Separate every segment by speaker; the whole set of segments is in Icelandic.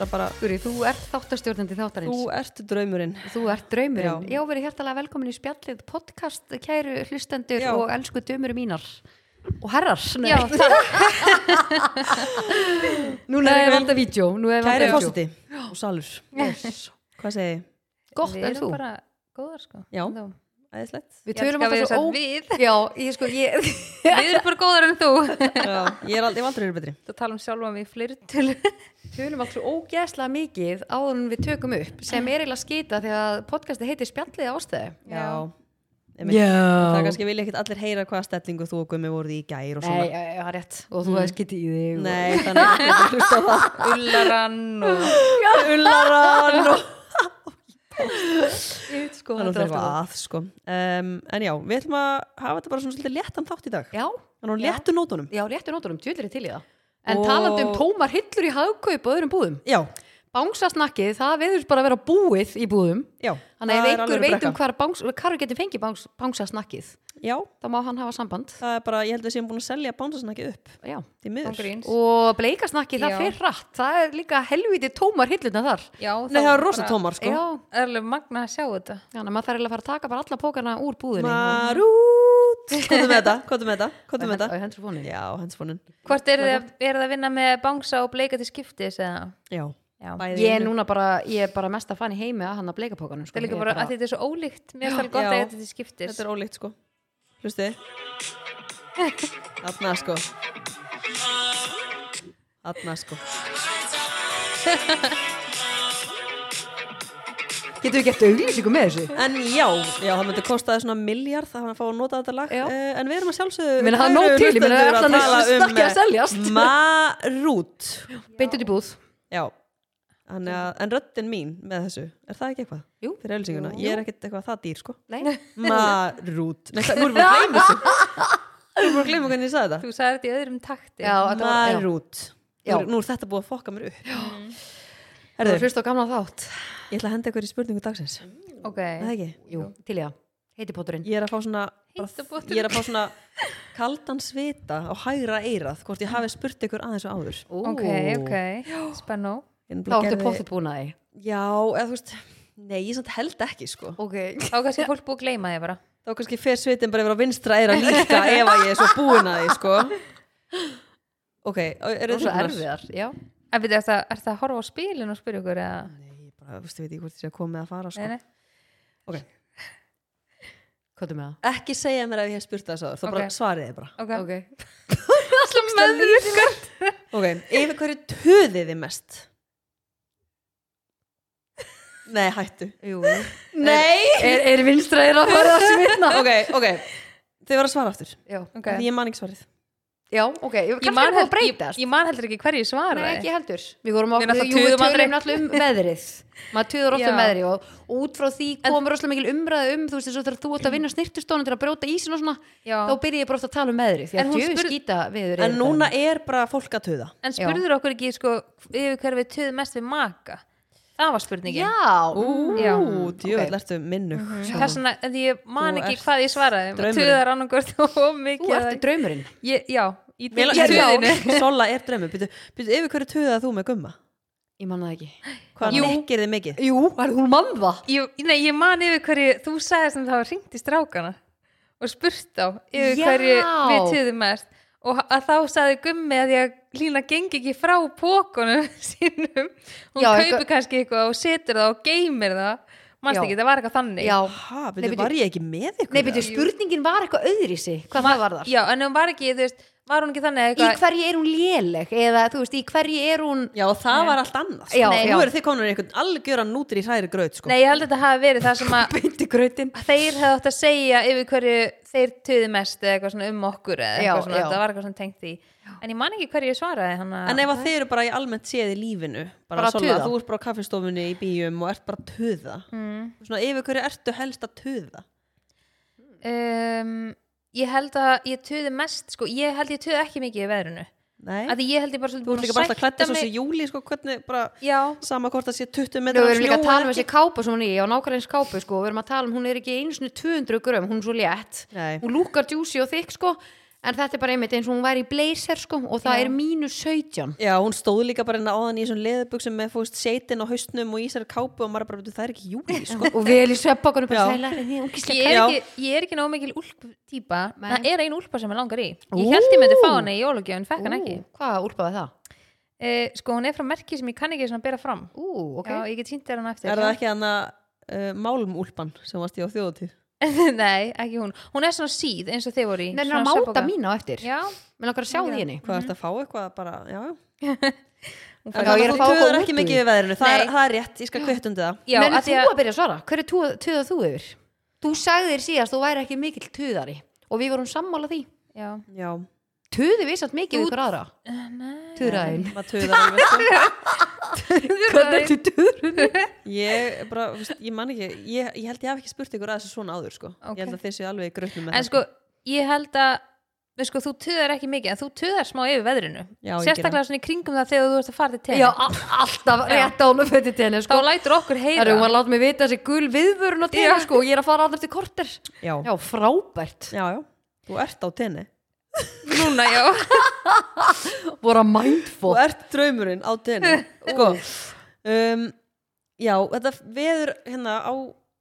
Speaker 1: það bara,
Speaker 2: Guri, þú ert þáttastjórnandi
Speaker 1: þú
Speaker 2: þáttarins.
Speaker 1: ert draumurinn
Speaker 2: Þú, ert draumurinn.
Speaker 1: Já.
Speaker 2: Já, verið hjertalega velkomin í spjallið podcast, kæru hlustendur
Speaker 1: Já.
Speaker 2: og elsku dömur mínar. Og herrar.
Speaker 3: Já, það
Speaker 2: Núna er vanda vídeo. Nú er
Speaker 1: Kæri
Speaker 2: vanda vídeo.
Speaker 1: fósiti og salur Hvað segið þið?
Speaker 2: Gott,
Speaker 3: Við
Speaker 2: en
Speaker 3: erum
Speaker 2: þú?
Speaker 3: bara góðar sko
Speaker 1: Já,
Speaker 3: Þú.
Speaker 1: æðislegt
Speaker 2: Við
Speaker 3: Ég
Speaker 2: tölum
Speaker 3: elska
Speaker 2: að
Speaker 3: við
Speaker 2: það
Speaker 3: þess
Speaker 2: svo
Speaker 3: að
Speaker 2: ó...
Speaker 3: við
Speaker 2: Já, ég sko, ég...
Speaker 3: Við erum bara góðar en þú
Speaker 1: Já, Ég er aldrei, ég hef aldrei verið betri
Speaker 3: Það tala um sjálfa mig flirtul
Speaker 2: tölum alltaf ógæslega mikið áður en við tökum upp sem er eiginlega skýta því að podcasti heitir Spjallið ástæði
Speaker 1: Já, einmitt.
Speaker 2: Já
Speaker 1: Það kannski vilja ekkert allir heyra hvaða stellingu þú og Gummi voruð í gær og
Speaker 2: Nei,
Speaker 1: svona
Speaker 2: já, já, það er rétt Mm. og þú hefði skýtið í þig og-
Speaker 1: Nei, þannig að ekki að hlusta á það
Speaker 3: Ullarann og
Speaker 1: Ullarann og
Speaker 2: Ég, sko,
Speaker 1: Þannig að það
Speaker 2: þetta er
Speaker 1: er eitthvað
Speaker 2: alltaf-
Speaker 1: að sko um, En já, við ætlum að hafa þetta bara svona svolítið léttan þátt í dag
Speaker 2: Já,
Speaker 1: Þannig að
Speaker 2: Já.
Speaker 1: léttu nótunum
Speaker 2: já, réttu nótunum, tjöldri til í það En
Speaker 1: Og-
Speaker 2: talandi um tómar hillur í hagkaup og öðrum búðum
Speaker 1: Já,
Speaker 2: Bánsasnakkið, það viður bara að vera búið í búðum
Speaker 1: já
Speaker 2: Þannig
Speaker 1: það
Speaker 2: að ef
Speaker 1: er
Speaker 2: einhver
Speaker 1: alveg
Speaker 2: veit um
Speaker 1: brekka.
Speaker 2: hvar, bángs, hvar við getum fengið bángs, bánsasnakkið
Speaker 1: Já,
Speaker 2: þá má hann hafa samband
Speaker 1: það er bara, ég held að við séum búin að selja bánsasnakki upp
Speaker 2: já.
Speaker 1: Því miður
Speaker 3: gríns
Speaker 2: Og bleikasnakkið, það
Speaker 3: Já.
Speaker 2: fer rætt Það er líka helviti tómar hillurna þar
Speaker 3: Já,
Speaker 1: Nei, það var rosa tómar sko
Speaker 2: Já,
Speaker 3: Erlega magna að sjá þetta
Speaker 2: þannig að maður þarf eiginlega að fara að taka bara alla pókarna úr búðinni
Speaker 1: Marút Kvotum með þetta, kvotum með þetta, kvotum með
Speaker 2: og,
Speaker 1: þetta
Speaker 2: og, og hendur fónin
Speaker 1: Já, hensfónin
Speaker 3: Hvort er þið, er þið að vinna með bangsa og bleika til skiptis eða?
Speaker 1: Já,
Speaker 3: Já,
Speaker 1: Bæði í
Speaker 2: Ég er
Speaker 1: einu.
Speaker 2: núna bara, ég er bara mest að fann í heimi að hann að bleika pókanum sko.
Speaker 3: það er líka
Speaker 2: Ég
Speaker 3: bara að þetta er svo ólíkt Mér finnst það
Speaker 1: Já.
Speaker 3: gott að þetta til skiptis
Speaker 1: Þetta er ólíkt sko Hlustið Þarna sko Þarna sko
Speaker 2: Getum við gert auglýsingu með þessu?
Speaker 1: En já, já, það myndi kostaði svona miljard að fá að nota þetta lag
Speaker 2: Já.
Speaker 1: uh, En við erum að sjálfsögðu
Speaker 2: Ég meina, það er nóg
Speaker 1: kæru
Speaker 2: til, ég meina,
Speaker 1: hlustendur,
Speaker 2: allan er
Speaker 1: tala um,
Speaker 2: snakkið að
Speaker 1: eh,
Speaker 2: seljast.
Speaker 1: Marút
Speaker 2: Beint út í búð
Speaker 1: Já Þannig að, en röddin mín með þessu, er það ekki eitthvað?
Speaker 2: Jú.
Speaker 1: Fyrir ölsinguna, ég er ekkert eitthvað það dýr, sko
Speaker 2: Nei,
Speaker 1: Marút Nei, hvað, nú erum við að gleyma þessu Nú erum við að gleyma hvernig ég sagði þetta
Speaker 3: Þú sagði þetta í öðrum takti
Speaker 2: já, þetta var já.
Speaker 1: Marút
Speaker 2: Já.
Speaker 1: Nú, nú er þetta búið að fokka mér upp
Speaker 2: Þú
Speaker 1: Herðu,
Speaker 2: hlust á gamla þátt
Speaker 1: ég ætla að henda ykkur í spurningu dagsins
Speaker 3: Ok
Speaker 1: Er Það ekki?
Speaker 2: Jú, til ég að, heiti poturinn
Speaker 1: Ég er að fá svona
Speaker 3: Heita pottur.
Speaker 1: Ég er að fá svona kaldan svita á hægra eirað hvort ég hafi spurt ykkur aðeins og áður
Speaker 3: Ok, ok Spennó
Speaker 2: Þá ertu potið búin að þig
Speaker 1: Já, eða þú veist Nei, ég samt held ekki sko
Speaker 2: Ok
Speaker 3: Þá er kannski fólk búið að gleyma þið bara
Speaker 1: Þá kannski fer svitin bara yfir á vinstra eira líka ef að ég er svo búin að því sko Ok,
Speaker 2: Þú
Speaker 1: eru
Speaker 2: er svo erfiðar, já
Speaker 3: En veitir, er það, er það að horfa á spilin og spyrja ykkur eða?
Speaker 1: Nei, ég bara, þú veist, ég veit ekki hvort ég sé að koma með að fara sko
Speaker 3: Nei, nei.
Speaker 1: Ok,
Speaker 2: Hvað er með það?
Speaker 1: ekki segja mér ef ég hef spurt það sáður, þá bara
Speaker 3: Ok.
Speaker 1: svariði bara
Speaker 3: Ok, okay.
Speaker 2: Ok
Speaker 3: Alltaf meðvirkar
Speaker 1: Ok, yfir hverju töðið þið mest? Nei, hættu
Speaker 2: Jú
Speaker 1: Nei
Speaker 2: Er, er vinstræðir að fara að svinna?
Speaker 1: Ok, ok, þið var að svara aftur
Speaker 2: Já,
Speaker 3: Ok.
Speaker 1: Því ég man ekki svarið
Speaker 2: já, ok Ég
Speaker 3: ég man,
Speaker 2: man að
Speaker 3: held, ég,
Speaker 2: breytast
Speaker 3: ég man heldur ekki hverju svara
Speaker 2: Nei, ekki heldur Við vorum
Speaker 3: Við
Speaker 2: áfram,
Speaker 3: náttúrulega
Speaker 2: jú, við
Speaker 3: tuðum aldrei.
Speaker 2: tölum náttúrulega um veðrið Maður tuður ofta um
Speaker 3: Já.
Speaker 2: veðrið og út frá því komur rosalega mikil umræða um þú veist eins og þegar þú
Speaker 3: Mm.
Speaker 2: ert að vinna snirtustónum til að brjóta ísin og svona
Speaker 3: Já.
Speaker 2: þá byrja ég bara oft að tala um veðrið því
Speaker 3: En
Speaker 2: að
Speaker 3: hún
Speaker 2: djöðu
Speaker 3: spurði-
Speaker 2: skýta veður
Speaker 1: En núna er bara fólk að töða
Speaker 3: En spurður okkur ekki sko, yfir hverju við töðum mest við maka Það var spurningin
Speaker 2: Já,
Speaker 3: Já. Mhm.
Speaker 1: Ú, djöfell
Speaker 2: ok.
Speaker 1: ertu minnug
Speaker 3: Þess vegna, en því ég man
Speaker 1: Þú
Speaker 3: ekki
Speaker 1: ert
Speaker 3: hvað ég svaraði
Speaker 1: draumurinn.
Speaker 3: Töðar annarkvort og
Speaker 2: þú
Speaker 3: mikið
Speaker 2: ertu draumurinn
Speaker 3: ég, Já, í, í
Speaker 1: Mér
Speaker 2: er- já.
Speaker 3: töðinu
Speaker 1: Sola er drömmur Býtu, býtu, yfir hverju töðað þú með gumma?
Speaker 2: Ég manna það ekki
Speaker 1: Hvað
Speaker 3: Jú.
Speaker 1: nekkir þið mikið?
Speaker 2: Jú, er hún mann það?
Speaker 3: ég, Nei, ég man yfir hverju Þú sagði sem það var hringt í strákana Og spurt á yfir
Speaker 2: Já.
Speaker 3: hverju við töðum mest Og að þá sagði Gummi að ég lína gengi ekki frá pókunum sínum Hún
Speaker 2: Já,
Speaker 3: kaupir
Speaker 2: eitthvað-
Speaker 3: kannski eitthvað og setur það og geymir það Manst
Speaker 2: Já.
Speaker 3: ekki, það var eitthvað þannig
Speaker 2: Já,
Speaker 1: Ha,
Speaker 2: Nei,
Speaker 1: býtu,
Speaker 2: býtu.
Speaker 1: var ég ekki með ykkur?
Speaker 2: nei byrju, spurningin var eitthvað öðrisi hvað það var þar?
Speaker 3: Já, en hún var ekki, þú veist, var hún ekki þannig
Speaker 2: Í
Speaker 3: eitthvað
Speaker 2: hverju er hún léleg? Eða þú veist, í hverju er hún
Speaker 1: Já, það var allt annað
Speaker 2: Já,
Speaker 1: sko. Nei,
Speaker 2: já.
Speaker 1: Nú eru þið komin í einhvern algjöran nútri í hræri gröð sko.
Speaker 3: Nei, ég held að þetta hafi verið það sem að
Speaker 2: beinti grötin?
Speaker 3: þeir hefði átt að segja yfir hverju þeir töðu mest eða eitthvað svona um okkur eða
Speaker 2: Já,
Speaker 3: eitthvað svona,
Speaker 2: já.
Speaker 3: það var eitthvað svona tengt því en ég man ekki hverju ég svaraði hann að
Speaker 1: En ef að þið eru bara í almennt séð í lífinu bara,
Speaker 2: Bara
Speaker 1: bara
Speaker 2: að
Speaker 1: svona,
Speaker 2: tuða.
Speaker 1: þú ert bara á kaffestofunni í bíum og ert bara að töða mm. svona yfir hverju ertu helst að töða
Speaker 3: um, ég held að ég töðu mest sko, ég held ég töðu ekki mikið í veðrinu
Speaker 1: Nei,
Speaker 3: að því ég held ég bara
Speaker 1: þú ert
Speaker 3: svolítið
Speaker 1: líka bara alltaf að klætta svo
Speaker 3: mig-
Speaker 1: sem júli sko, hvernig bara
Speaker 3: já,
Speaker 1: sama hvort að sé 20
Speaker 2: Nú,
Speaker 1: metrar
Speaker 2: við erum líka að tala um
Speaker 1: eða
Speaker 2: þessi kápa sem hún er í á nákvæmleins kápu sko, við erum að tala um hún er ekki einu sinni 200 grömm, hún er svo létt
Speaker 1: Nei.
Speaker 2: hún lúkar djúsi og þykk sko en þetta er bara einmitt eins og hún væri í blazer sko og það
Speaker 3: Já.
Speaker 2: er mínus 17
Speaker 1: Já, hún stóð líka bara hérna áðan í þessum leðubuxum með fóst seitin á haustnum og ísar kápu og maður bara, "Bíddu, það er ekki júli, sko.
Speaker 2: og vel í sveppakonu bara
Speaker 1: Já.
Speaker 2: sæla því ógislega
Speaker 3: Ég er
Speaker 1: Já.
Speaker 3: ekki, ég er ekki nóg mikil úlp típa
Speaker 2: Nei.
Speaker 3: Það er ein úlpa sem ég langar í Ég held ég myndi fá hana í jólugjöfn, fekk hann ekki
Speaker 2: Hvað úlpaði það?
Speaker 3: uh, Sko, hún er frá merki sem ég kann ekki svona að bera fram
Speaker 2: Ú, ok
Speaker 3: Já, ég get sýnt þér hann eftir
Speaker 1: Er það ekki hann að uh, málmúlpan sem varst í á þjóðatíð?
Speaker 3: Nei, ekki hún Hún er svona síð eins og þið voru í
Speaker 2: Nei,
Speaker 3: svona
Speaker 2: hann máta
Speaker 3: svefnpoka.
Speaker 2: mín á eftir
Speaker 3: Já,
Speaker 2: Mér langar að sjá því henni
Speaker 1: Hvað ert að fá eitthvað bara, já, já.
Speaker 2: Já,
Speaker 3: hún fær
Speaker 1: Þannig að
Speaker 2: ég er að
Speaker 1: þú
Speaker 2: fá eitthvað
Speaker 1: töður
Speaker 2: út
Speaker 1: ekki
Speaker 2: úr
Speaker 1: mikið
Speaker 2: því.
Speaker 1: við veðrinu, það er,
Speaker 3: Nei.
Speaker 1: það er rétt, ég skal kvötundi það.
Speaker 3: Já,
Speaker 2: Menn
Speaker 3: að
Speaker 2: þú
Speaker 3: því að
Speaker 2: að byrja að svara, hverju tuða þú yfir? Þú sagðir síðast, þú væri ekki mikill tuðari og við vorum sammála því
Speaker 3: Já,
Speaker 1: Já,
Speaker 2: Tuði við satt mikið við ykkur aðra Eh.
Speaker 3: nei
Speaker 2: Tuðraðin
Speaker 1: maður töður alveg, sko.
Speaker 2: Hvernig til tuðrunni?
Speaker 1: Ég bara, þú veist, ég man ekki, ég, ég held ég hef ekki spurt ykkur að þessu svona áður, sko.
Speaker 3: Ok.
Speaker 1: Ég held að þeir séu alveg í gröfnum með
Speaker 3: En sko, ég held að við sko, þú töðar ekki mikið, en þú töðar smá yfir veðrinu
Speaker 1: Já, ég
Speaker 3: Sérstaklega svona í kringum það þegar þú ert að fara til tenni
Speaker 2: Já, a- alltaf rétt án og fötið til henni
Speaker 3: Þá
Speaker 2: sko.
Speaker 3: lætur okkur
Speaker 2: Það er
Speaker 3: heyra
Speaker 2: hún að láta mig vita þessi gul viðvörun og til henni sko, og ég er að fara alltaf til korter
Speaker 1: það. Já,
Speaker 2: Já, frábært
Speaker 1: já, já, þú ert á tenni.
Speaker 3: Núna, já
Speaker 2: Vora
Speaker 1: Þú
Speaker 2: mindful
Speaker 1: ert draumurinn á tenni, sko. Um, já, þetta veður hérna á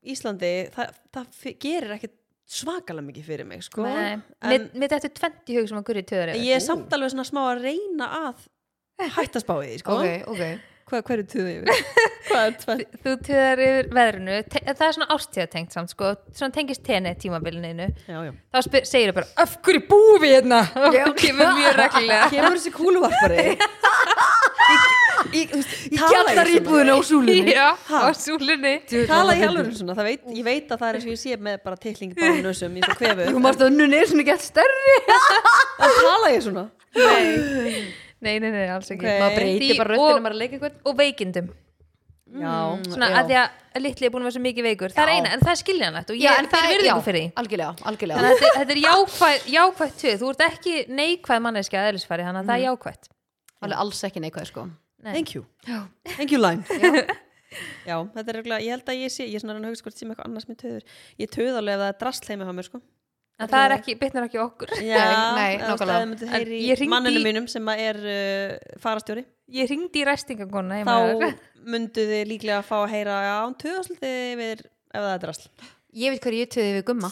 Speaker 1: Íslandi, það, það fe- gerir ekkit svakalega mikið fyrir mig, sko.
Speaker 3: Nei,
Speaker 1: En
Speaker 3: Mér- Mér þetta er 20 hug sem að gurri töðar yfir
Speaker 1: ég er samt alveg svona smá að reyna að hætta spáið, því, sko.
Speaker 2: Ok, ok
Speaker 1: Hvað, hverju tuðu yfir? Hvað er tvennt?
Speaker 3: Þú töðar yfir veðrinu te- Það er svona ástíðatengt samt, sko Svona tengist tenni tímabilinu
Speaker 1: Já, já.
Speaker 3: Þá spyr- segirðu bara, af hverju búum við hérna? Og kemur mjög reglulega
Speaker 1: Kemur þessi kúluvarpari? Í, í, þú veist,
Speaker 2: Í
Speaker 1: tala ég
Speaker 2: kjallar
Speaker 1: svona?
Speaker 2: íbúðinu á súlunni
Speaker 3: Já,
Speaker 1: Ha?
Speaker 3: á súlunni
Speaker 1: tala í alveg svona, það veit, ég veit að það er eins og ég sé með bara tilling bara nössum, ég svo kvefu
Speaker 2: Jú, marstu að nunni er svona gett stærri
Speaker 1: en tala ég svona
Speaker 3: Nei, nei, nei, alls ekki
Speaker 1: Ok.
Speaker 2: Maður breytir
Speaker 3: Því-
Speaker 2: bara röddinu,
Speaker 3: og-
Speaker 2: maður er að leika eitthvað
Speaker 3: Og veikindum
Speaker 1: já,
Speaker 3: svona
Speaker 2: Já.
Speaker 3: að því að litli er búin að vera svo mikið veikur það er eina, en það er skiljanlegt og ég er fyrir virðingu fyrir því
Speaker 2: Algjörlega, algjörlega
Speaker 3: þannig að þetta, þetta er jákvæð, jákvætt töð þú ert ekki neikvæð manneskja að eðlisfæri þannig
Speaker 2: Mm.
Speaker 3: að það er jákvætt
Speaker 2: alveg alls ekki neikvæð sko
Speaker 1: thank you thank you line já, þetta er regla, ég held að ég sé ég er svona að reyna að hugsa hvort sem eitthvað annars mér töður ég töð alveg ef það er drast heimi á mér sko
Speaker 3: en það er ekki, bitnar ekki á okkur
Speaker 1: já,
Speaker 2: nei,
Speaker 1: eða þú veist,
Speaker 2: nákvæmlega.
Speaker 1: ef þið myndið
Speaker 3: En
Speaker 1: heyri
Speaker 3: ég
Speaker 1: í
Speaker 3: hringdi í-
Speaker 1: manninu mínum sem að er uh, farastjóri
Speaker 3: ég ringdi í ræstingagona
Speaker 1: þá mynduð þið líklega að fá að heyra já, hún töðast litið yfir ef það er drast
Speaker 2: Ég veit hverju ég töði við gumma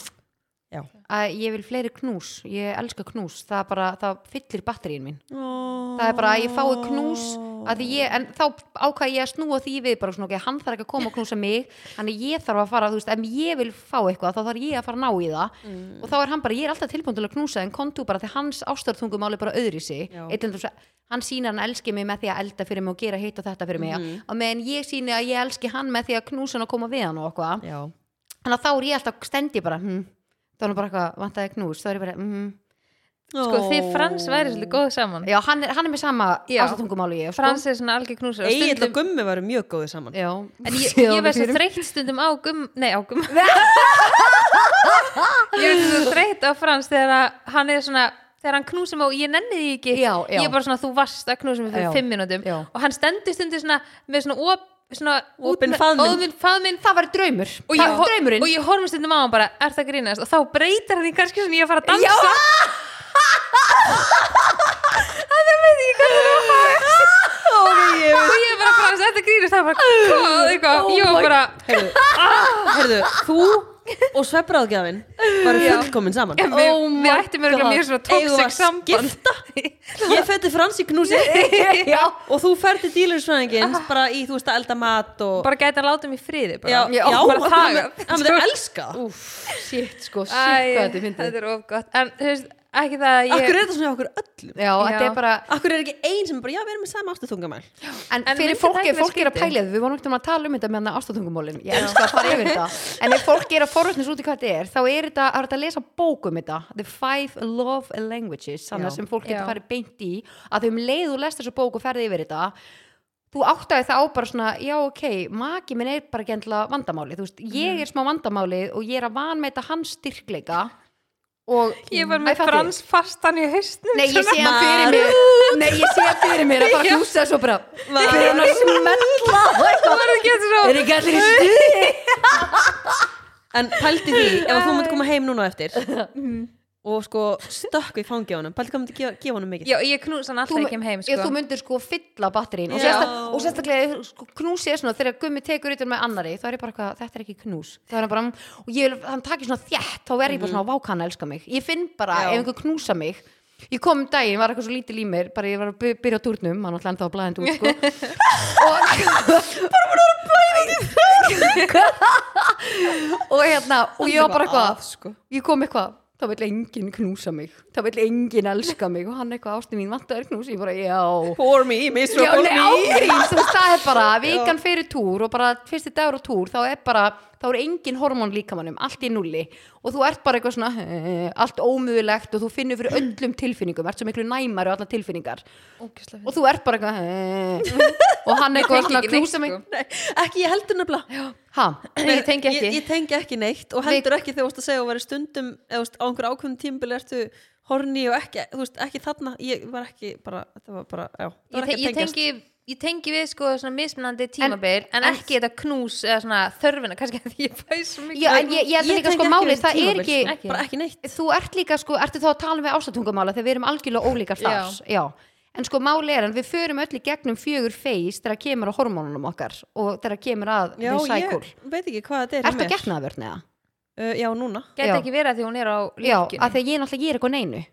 Speaker 1: já,
Speaker 2: að ég vil fleiri knús, ég elska knús það bara, það fyllir batterín mín
Speaker 1: það
Speaker 2: það er bara að ég fái knús að því ég, en þá ákvað ég að snúa því við bara svona, ok, hann þarf ekki að koma og knúsa mig þannig ég þarf að fara, þú veist, ef ég vil fá eitthvað þá þarf ég að fara að ná í það og þá er hann bara, ég er alltaf tilbúin til að knúsa en kontu bara því hans ástartungumál er bara öðri sig
Speaker 1: Já.
Speaker 2: hann sínar hann elski mig með því að elda fyrir mig og gera hitt og þetta fyrir mig og meðan ég síni að ég elski hann með því að knúsa hann og koma við hann og okkur
Speaker 1: já,
Speaker 2: þannig að þá er ég alltaf stendi bara hm, þá er hann bara eitthvað, vantaði knús þá er ég bara, hm.
Speaker 3: sko þið Frans væri svolítið góð saman
Speaker 2: já, hann er, hann er með sama
Speaker 3: Já.
Speaker 2: ástatungumáli ég, sko.
Speaker 3: Frans er svona algjör knúsar og
Speaker 1: Egil og
Speaker 3: sko. stundum
Speaker 1: Gummi varum mjög góðið saman
Speaker 2: já,
Speaker 3: En ég,
Speaker 2: Séð
Speaker 3: ég
Speaker 2: honum
Speaker 3: verð svo
Speaker 2: fyrir mér.
Speaker 3: þreytt stundum á gum Nei, á gum Ég verð svo þreytt á Frans þegar að hann er svona þegar hann knúsir mig og ég nenni því ekki
Speaker 2: Já, já.
Speaker 3: ég er bara svona þú varst að knúsir mig fyrir
Speaker 2: Já,
Speaker 3: fimm mínútum
Speaker 2: já.
Speaker 3: og hann stendur stundir svona með svona, op, svona
Speaker 1: Opinn faðminn.
Speaker 3: opinn faðminn
Speaker 2: það var draumur,
Speaker 3: og
Speaker 2: það
Speaker 3: ég,
Speaker 2: var draumurinn
Speaker 3: og ég horfum stundum á hann bara er það grínast og þá breytir hann því kannski svona ég er að fara að dansa
Speaker 1: og ég
Speaker 3: og ég er bara Frans er það grínast það er bara hvað
Speaker 2: Oh
Speaker 3: eitthvað ég var bara
Speaker 1: Heyrðu, ah, heyrðu, þú og svefbraðgjafin varum fullkomin saman
Speaker 3: við,
Speaker 2: Oh my
Speaker 3: við ættum örgulega
Speaker 2: God.
Speaker 3: mjög svona
Speaker 1: Eigum við
Speaker 3: toxic
Speaker 1: að
Speaker 3: samband
Speaker 1: Ég fætti Frans í knúsi
Speaker 2: já,
Speaker 1: og þú ferði dílurisfræðingin bara í, þú veist, að elda mat og
Speaker 3: Ah. bara gæti að láta mig í friði bara.
Speaker 1: Já,
Speaker 2: Já,
Speaker 1: hann
Speaker 3: bara
Speaker 1: myndi-
Speaker 3: þagað.
Speaker 1: hann myndi elska það.
Speaker 2: úf, shit sko shit hvað
Speaker 3: Æ,
Speaker 2: þetta er fyndið
Speaker 3: þetta er of gott en þú veist, ekki það að
Speaker 1: Akkur
Speaker 3: ég
Speaker 1: er þetta svona hjá okkur öllum
Speaker 2: já, þetta
Speaker 3: Já.
Speaker 2: er bara,
Speaker 1: Akkur er ekki ein sem er bara, já, við erum með sama ástutungamæl
Speaker 2: en,
Speaker 3: En
Speaker 2: fyrir
Speaker 3: myndi það
Speaker 2: fólki
Speaker 3: ekki
Speaker 2: fólk er að
Speaker 3: vera
Speaker 2: pælið, við vorum ekkert að tala um þetta með hann ástattungumólin, ég elska að fara yfir þetta en ef fólk er að forröðnast út í hvað þetta er þá er þetta, það er þetta að lesa bók um þetta The Five Love Languages
Speaker 1: Já.
Speaker 2: þannig sem fólk getur
Speaker 3: Já.
Speaker 2: farið beint í að þau um leið og lest þessu bók og ferði yfir þetta þú áttaði það á bara svona já ok, maki minn er bara gentla vandamáli, þú veist,
Speaker 3: Mm.
Speaker 2: ég er smá vandamáli og ég er að vanmeita hans styrkleika og
Speaker 3: ég var
Speaker 2: Æ,
Speaker 3: með
Speaker 2: fattiði?
Speaker 3: frans fastan í haustnum
Speaker 2: Nei, ég sé hann fyrir
Speaker 1: Maru.
Speaker 2: mér Nei, ég sé hann fyrir mér að bara knúsa svo bara
Speaker 1: Maru.
Speaker 2: Fyrir hann að smetla
Speaker 3: það var ekki þetta
Speaker 2: Er
Speaker 3: svo
Speaker 2: ekki allir í stuði?
Speaker 3: Mhm.
Speaker 1: En pældi því, ef þú myndi koma heim núna á eftir og sko stökk við fangi á honum pæli hvað myndi gefa, gefa honum mikið
Speaker 3: Já, ég knús hann alltaf
Speaker 2: Þú-
Speaker 3: ekki um heim,
Speaker 2: Ef
Speaker 3: sko.
Speaker 2: þú myndir sko fylla batterín og,
Speaker 1: Já.
Speaker 2: sérsta- og sérstaklega sko, knús ég svona þegar gummi tekur yttur með annari þá er ég bara eitthvað, þetta er ekki knús þá er hann bara, og ég vil, hann takir svona þjætt þá er ég bara svona, vák hann elska mig ég finn bara,
Speaker 1: Já.
Speaker 2: ef einhver knúsa mig ég kom um daginn, var eitthvað svo lítið í mér bara ég var að by- byrja á turnum, hann alltaf ennþá blæðandi út sko. og og hérna og ég var bara eitthvað,
Speaker 1: sko.
Speaker 2: ég kom eitthvað það vil enginn knúsa mig, það vil enginn elska mig og hann eitthvað ástu mín vantar knús ég bara já,
Speaker 1: pour me,
Speaker 2: já
Speaker 1: miserable
Speaker 2: nei,
Speaker 1: me
Speaker 2: ágríns, þú veist það er bara vikan fyrir túr og bara fyrsti dagur á túr þá er bara, þá er engin hormón líkamannum allt í nulli og þú ert bara eitthvað svona eh, allt ómögulegt og þú finnur fyrir öllum tilfinningum, ert svo miklu næmari og allar tilfinningar
Speaker 3: Ógeðslega
Speaker 2: og þú ert bara eitthvað eh, og hann eitthvað
Speaker 3: tengi
Speaker 2: svona
Speaker 3: ekki neitt,
Speaker 2: knúsa mig
Speaker 3: sko.
Speaker 1: Nei, ekki ég heldur nefnilega
Speaker 2: ha,
Speaker 3: fyndið. Ég tengi ekki.
Speaker 1: ég, ég tengi ekki neitt og heldur ekki þegar þú varst að segja og verið stundum eða þú veist, á einhver ákveðin tímbil ertu horni og ekki, þú veist, ekki þarna ég var ekki bara, þetta var bara, já það
Speaker 3: Ég,
Speaker 1: var
Speaker 3: te
Speaker 1: ekki
Speaker 3: ég,
Speaker 1: að tengjast.
Speaker 3: tengi, ég tengi við sko svona mismunandi tímabil en, ekki þetta knús eða svona þörfina kannski að því ég fæ svo mikið
Speaker 2: já, en ég, ég
Speaker 1: Ég
Speaker 2: held líka
Speaker 1: tengi ekki
Speaker 2: sko
Speaker 1: við
Speaker 2: málið, það er
Speaker 1: tímabil,
Speaker 2: ekki
Speaker 1: sko. bara ekki neitt
Speaker 2: þú ert líka sko, ertu þá að tala með ástatungumála þegar við erum algjörlega ólíkar þar já. en sko máli er en við förum öll í gegnum fjögur feis þegar kemur á hormónunum okkar og þegar kemur að
Speaker 1: já,
Speaker 2: við sækul
Speaker 1: ég veit ekki hvað þetta er í
Speaker 2: ertu að
Speaker 1: mér.
Speaker 2: getna það vörn eða?
Speaker 1: uh, já, núna
Speaker 3: Gæti
Speaker 2: Já.
Speaker 3: ekki verið að því hún er á
Speaker 2: já,
Speaker 3: líkjunni
Speaker 2: af því að ég náttúrulega ég er eitthvað neinu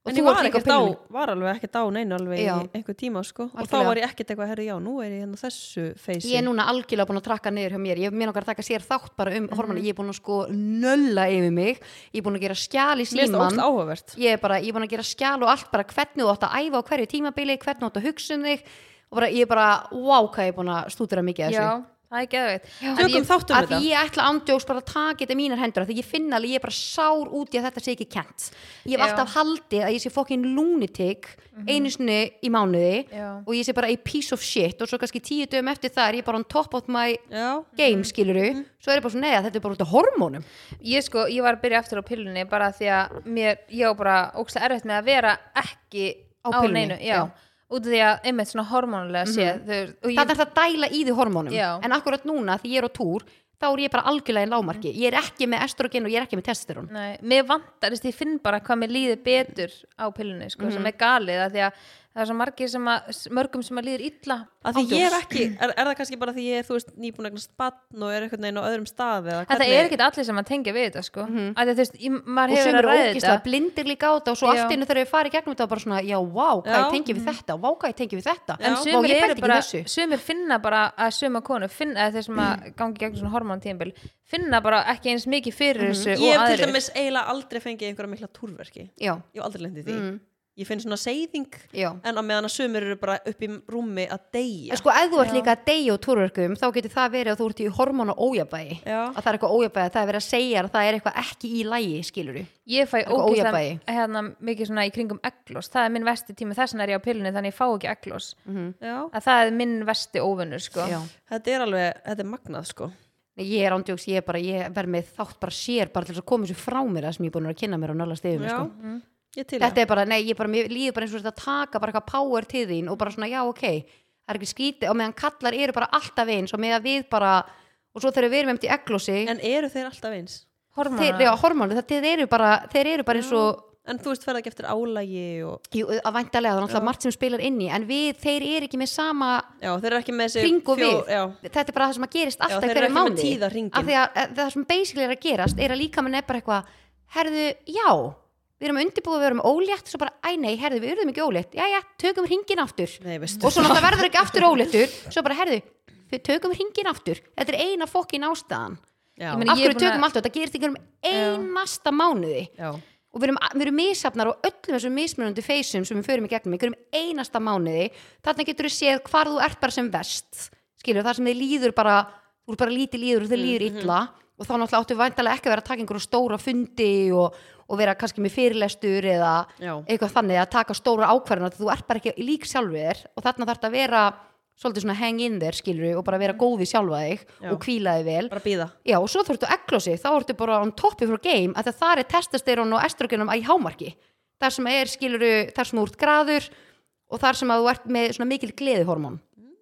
Speaker 2: og
Speaker 1: en
Speaker 2: þú
Speaker 1: ég var,
Speaker 2: ert líka
Speaker 1: ekkert
Speaker 2: á
Speaker 1: á,
Speaker 2: pillunni
Speaker 1: var alveg ekkert á neinu alveg
Speaker 2: Já.
Speaker 1: í einhver tíma sko. og þá
Speaker 2: Algjörlega.
Speaker 1: var ég ekkert eitthvað, herri já, nú er ég hérna á þessu feysi
Speaker 2: ég er núna algjörlega búin að trakka niður hjá mér ég mér okkar að taka sér þátt bara
Speaker 1: Mhm.
Speaker 2: um mm ég er búin að sko nölla yfir mig ég er búin að gera skjál í
Speaker 1: mér er það ógst
Speaker 2: síman
Speaker 1: áhugavert
Speaker 2: ég er bara, ég er búin að gera skjál og allt bara hvernig þú átt að æfa á hverju tímabili hvernig þú átt að hugsa um þig og bara, ég er bara, wow, hvað ég er búin að stúdera mikið af
Speaker 3: Já,
Speaker 2: þessu
Speaker 3: það er geðveitt En
Speaker 1: tökum
Speaker 3: ég-
Speaker 1: þátt um
Speaker 2: að því
Speaker 1: þetta
Speaker 2: ég ætla andjóks bara að taka þetta í mínar hendur að því ég finna alveg, ég er bara sár út í að þetta sé ekki kent ég hef
Speaker 3: Já.
Speaker 2: alltaf haldið að ég sé fokkin lunatic
Speaker 1: Mhm.
Speaker 2: einu sinni í mánuði
Speaker 3: Já.
Speaker 2: og ég sé bara a piece of shit og svo kannski tíu dögum eftir það er ég bara on top of my
Speaker 1: já,
Speaker 2: game,
Speaker 1: Mhm.
Speaker 2: skiluru svo er ég bara svona, neða, þetta er bara út af hormónum
Speaker 3: Ég sko, ég var að byrja aftur á pillunni bara því að mér, ég á bara ókslega erfitt með að vera ekki
Speaker 2: Á
Speaker 3: á,
Speaker 2: pillunni,
Speaker 3: neinu, já.
Speaker 2: já. Mhm.
Speaker 3: út af því að einmitt svona hormónulega séð mm
Speaker 2: það
Speaker 3: og ég,
Speaker 2: er það að dæla í því hormónum
Speaker 3: Já.
Speaker 2: en akkurat núna því ég er á túr þá er ég bara algjörlega í
Speaker 3: Mhm.
Speaker 2: lámarki ég er ekki með estrogen og ég er ekki með testosterón
Speaker 3: nei, mér vantar, þess að ég finn bara hvað mér líður betur á pillunni, sko,
Speaker 2: Mhm.
Speaker 3: sem er galið af því að það er svo margir sem að mörgum sem að líður illa
Speaker 1: að því ég er ekki, er, er það kannski bara því ég er, þú veist, nýbúin að eignast batn og er einhvern veginn á öðrum stað eða
Speaker 3: En það er ekkert allir sem að tengja við þetta sko. mm -hmm. Þú veist, ég,
Speaker 2: Mhm.
Speaker 3: maður
Speaker 2: og sem
Speaker 3: hefur að
Speaker 2: eru
Speaker 3: ræða
Speaker 2: ógislega
Speaker 3: þetta
Speaker 2: blindir líka á þetta og svo
Speaker 3: Já. Mhm.
Speaker 2: allt innu þegar við farið gegnum þetta og bara svona, já, vá, hvað
Speaker 1: Já.
Speaker 2: ég tengi við þetta vá, hvað ég tengi við þetta
Speaker 1: En
Speaker 2: Vá,
Speaker 3: Sumir,
Speaker 2: ég
Speaker 3: eru
Speaker 2: pældi ekki í
Speaker 3: bara,
Speaker 2: þessu. Mm.
Speaker 3: sumir finna bara að suma konu finna, eða þeir sem að gangi gegn svona hormóntíðinbel finna bara ekki eins mikið fyrir
Speaker 2: Mm-hmm.
Speaker 3: þessu
Speaker 1: ég
Speaker 3: og
Speaker 1: hef til
Speaker 3: aðrir
Speaker 1: dæmis eiginlega aldrei fengið einhverja mikla túrverki
Speaker 2: já,
Speaker 1: ég hef aldrei lendið því
Speaker 2: Mm.
Speaker 1: ég finn svona seyðing
Speaker 2: já
Speaker 1: en á meðan að sömur eru bara upp í rúmi að deyja
Speaker 2: En sko, ef þú ert líka að deyja úr túrverkum þá getur það verið að þú ert í hormóna ójabæði
Speaker 1: Já.
Speaker 2: að það er eitthvað ójabæði, það er verið að segja að það er eitthvað ekki í lægi, skiluru
Speaker 3: Ég fæ
Speaker 2: Eitthvað
Speaker 3: ógæslega
Speaker 2: ójafnvægi.
Speaker 3: hérna, mikið svona í kringum eglos það er minn vesti tími, þess vegna er ég á pillinu þannig ég fá ekki eglos
Speaker 1: Já.
Speaker 3: að það er minn vesti óvinnur sko.
Speaker 2: Mm-hmm. Já.
Speaker 1: þetta er alveg, þetta er magnað sko
Speaker 2: Nei, Ég er ándjóks, ég er bara, ég verð með þátt bara sér bara til þess að koma þessu frá mér það sem ég er búin að vera að kynna mér og nálast yfir mér,
Speaker 1: Já.
Speaker 2: sko.
Speaker 1: ég til
Speaker 2: Þetta er bara, nei, ég bara, mér líður bara eins og þetta taka bara eitthvað power til þín og bara svona, já, ok, það er ekki skrítið og meðan kallar eru bara alltaf eins og meðan við bara, og svo þegar við erum eftir eglosi,
Speaker 1: það. en eru þeir alltaf eins
Speaker 2: þeir, já, hormónu, það, þeir eru bara, þeir eru bara eins og,
Speaker 1: en þú veist ferða ekki eftir álægi og
Speaker 2: jú, að væntalega, það er náttúrulega margt sem spilar inn í, en við, þeir eru ekki með sama
Speaker 1: já, þeir eru ekki með þessi
Speaker 2: hring og
Speaker 1: fjó-
Speaker 2: við,
Speaker 1: já,
Speaker 2: þetta er bara það sem að gerist alltaf
Speaker 1: þeir eru
Speaker 2: hverju
Speaker 1: ekki með
Speaker 2: mánuði.
Speaker 1: tíðahringinn.
Speaker 2: Af því að að það sem basically er að gerast er að líka minn er bara eitthvað herðu, já, við erum undirbúið við erum ólétt, svo bara, æ nei, herðu, við erum ekki ólétt já, já, tökum hringin aftur
Speaker 1: nei veistu
Speaker 2: og svo náttúrulega verður ekki aftur óléttur svo bara, herðu, við tökum hringin aftur þetta er eina fokkin ástæðan
Speaker 1: já,
Speaker 3: ég meina-
Speaker 2: af
Speaker 3: ég er
Speaker 2: hverju
Speaker 3: búin að-
Speaker 2: tökum allt og þetta gerist í einhverjum einasta mánuði
Speaker 1: já,
Speaker 2: og við erum, við erum misafnar á öllum þessum mismunandi feysum sem við förum í gegnum í hverjum einasta mánuði þarna getur við séð hvar þú ert bara sem vest skilur þar sem þið líður bara þú er bara lítið líður og þið líður
Speaker 1: Mhm.
Speaker 2: illa og þá náttúrulega áttu væntalega ekki að vera að taka einhverju stóra fundi og, og vera kannski með fyrirlestur eða
Speaker 1: Já.
Speaker 2: eitthvað þannig að taka stóra ákvarðan þú ert bara ekki lík sjálfur þér og þarna þarf þetta að vera svolítið svona hang in þér skilur og bara vera góð við sjálfa þig
Speaker 1: Mhm. Já.
Speaker 2: og hvíla þig vel
Speaker 1: bara býða
Speaker 2: Já, og svo þurftu eglosi, þá ertu bara on topi frá game, af því að það er testosterón og estrogenum í hámarki. Þar sem er skiluru, þar sem þú ert graður og þar sem að þú ert með svona mikil gleðihormón.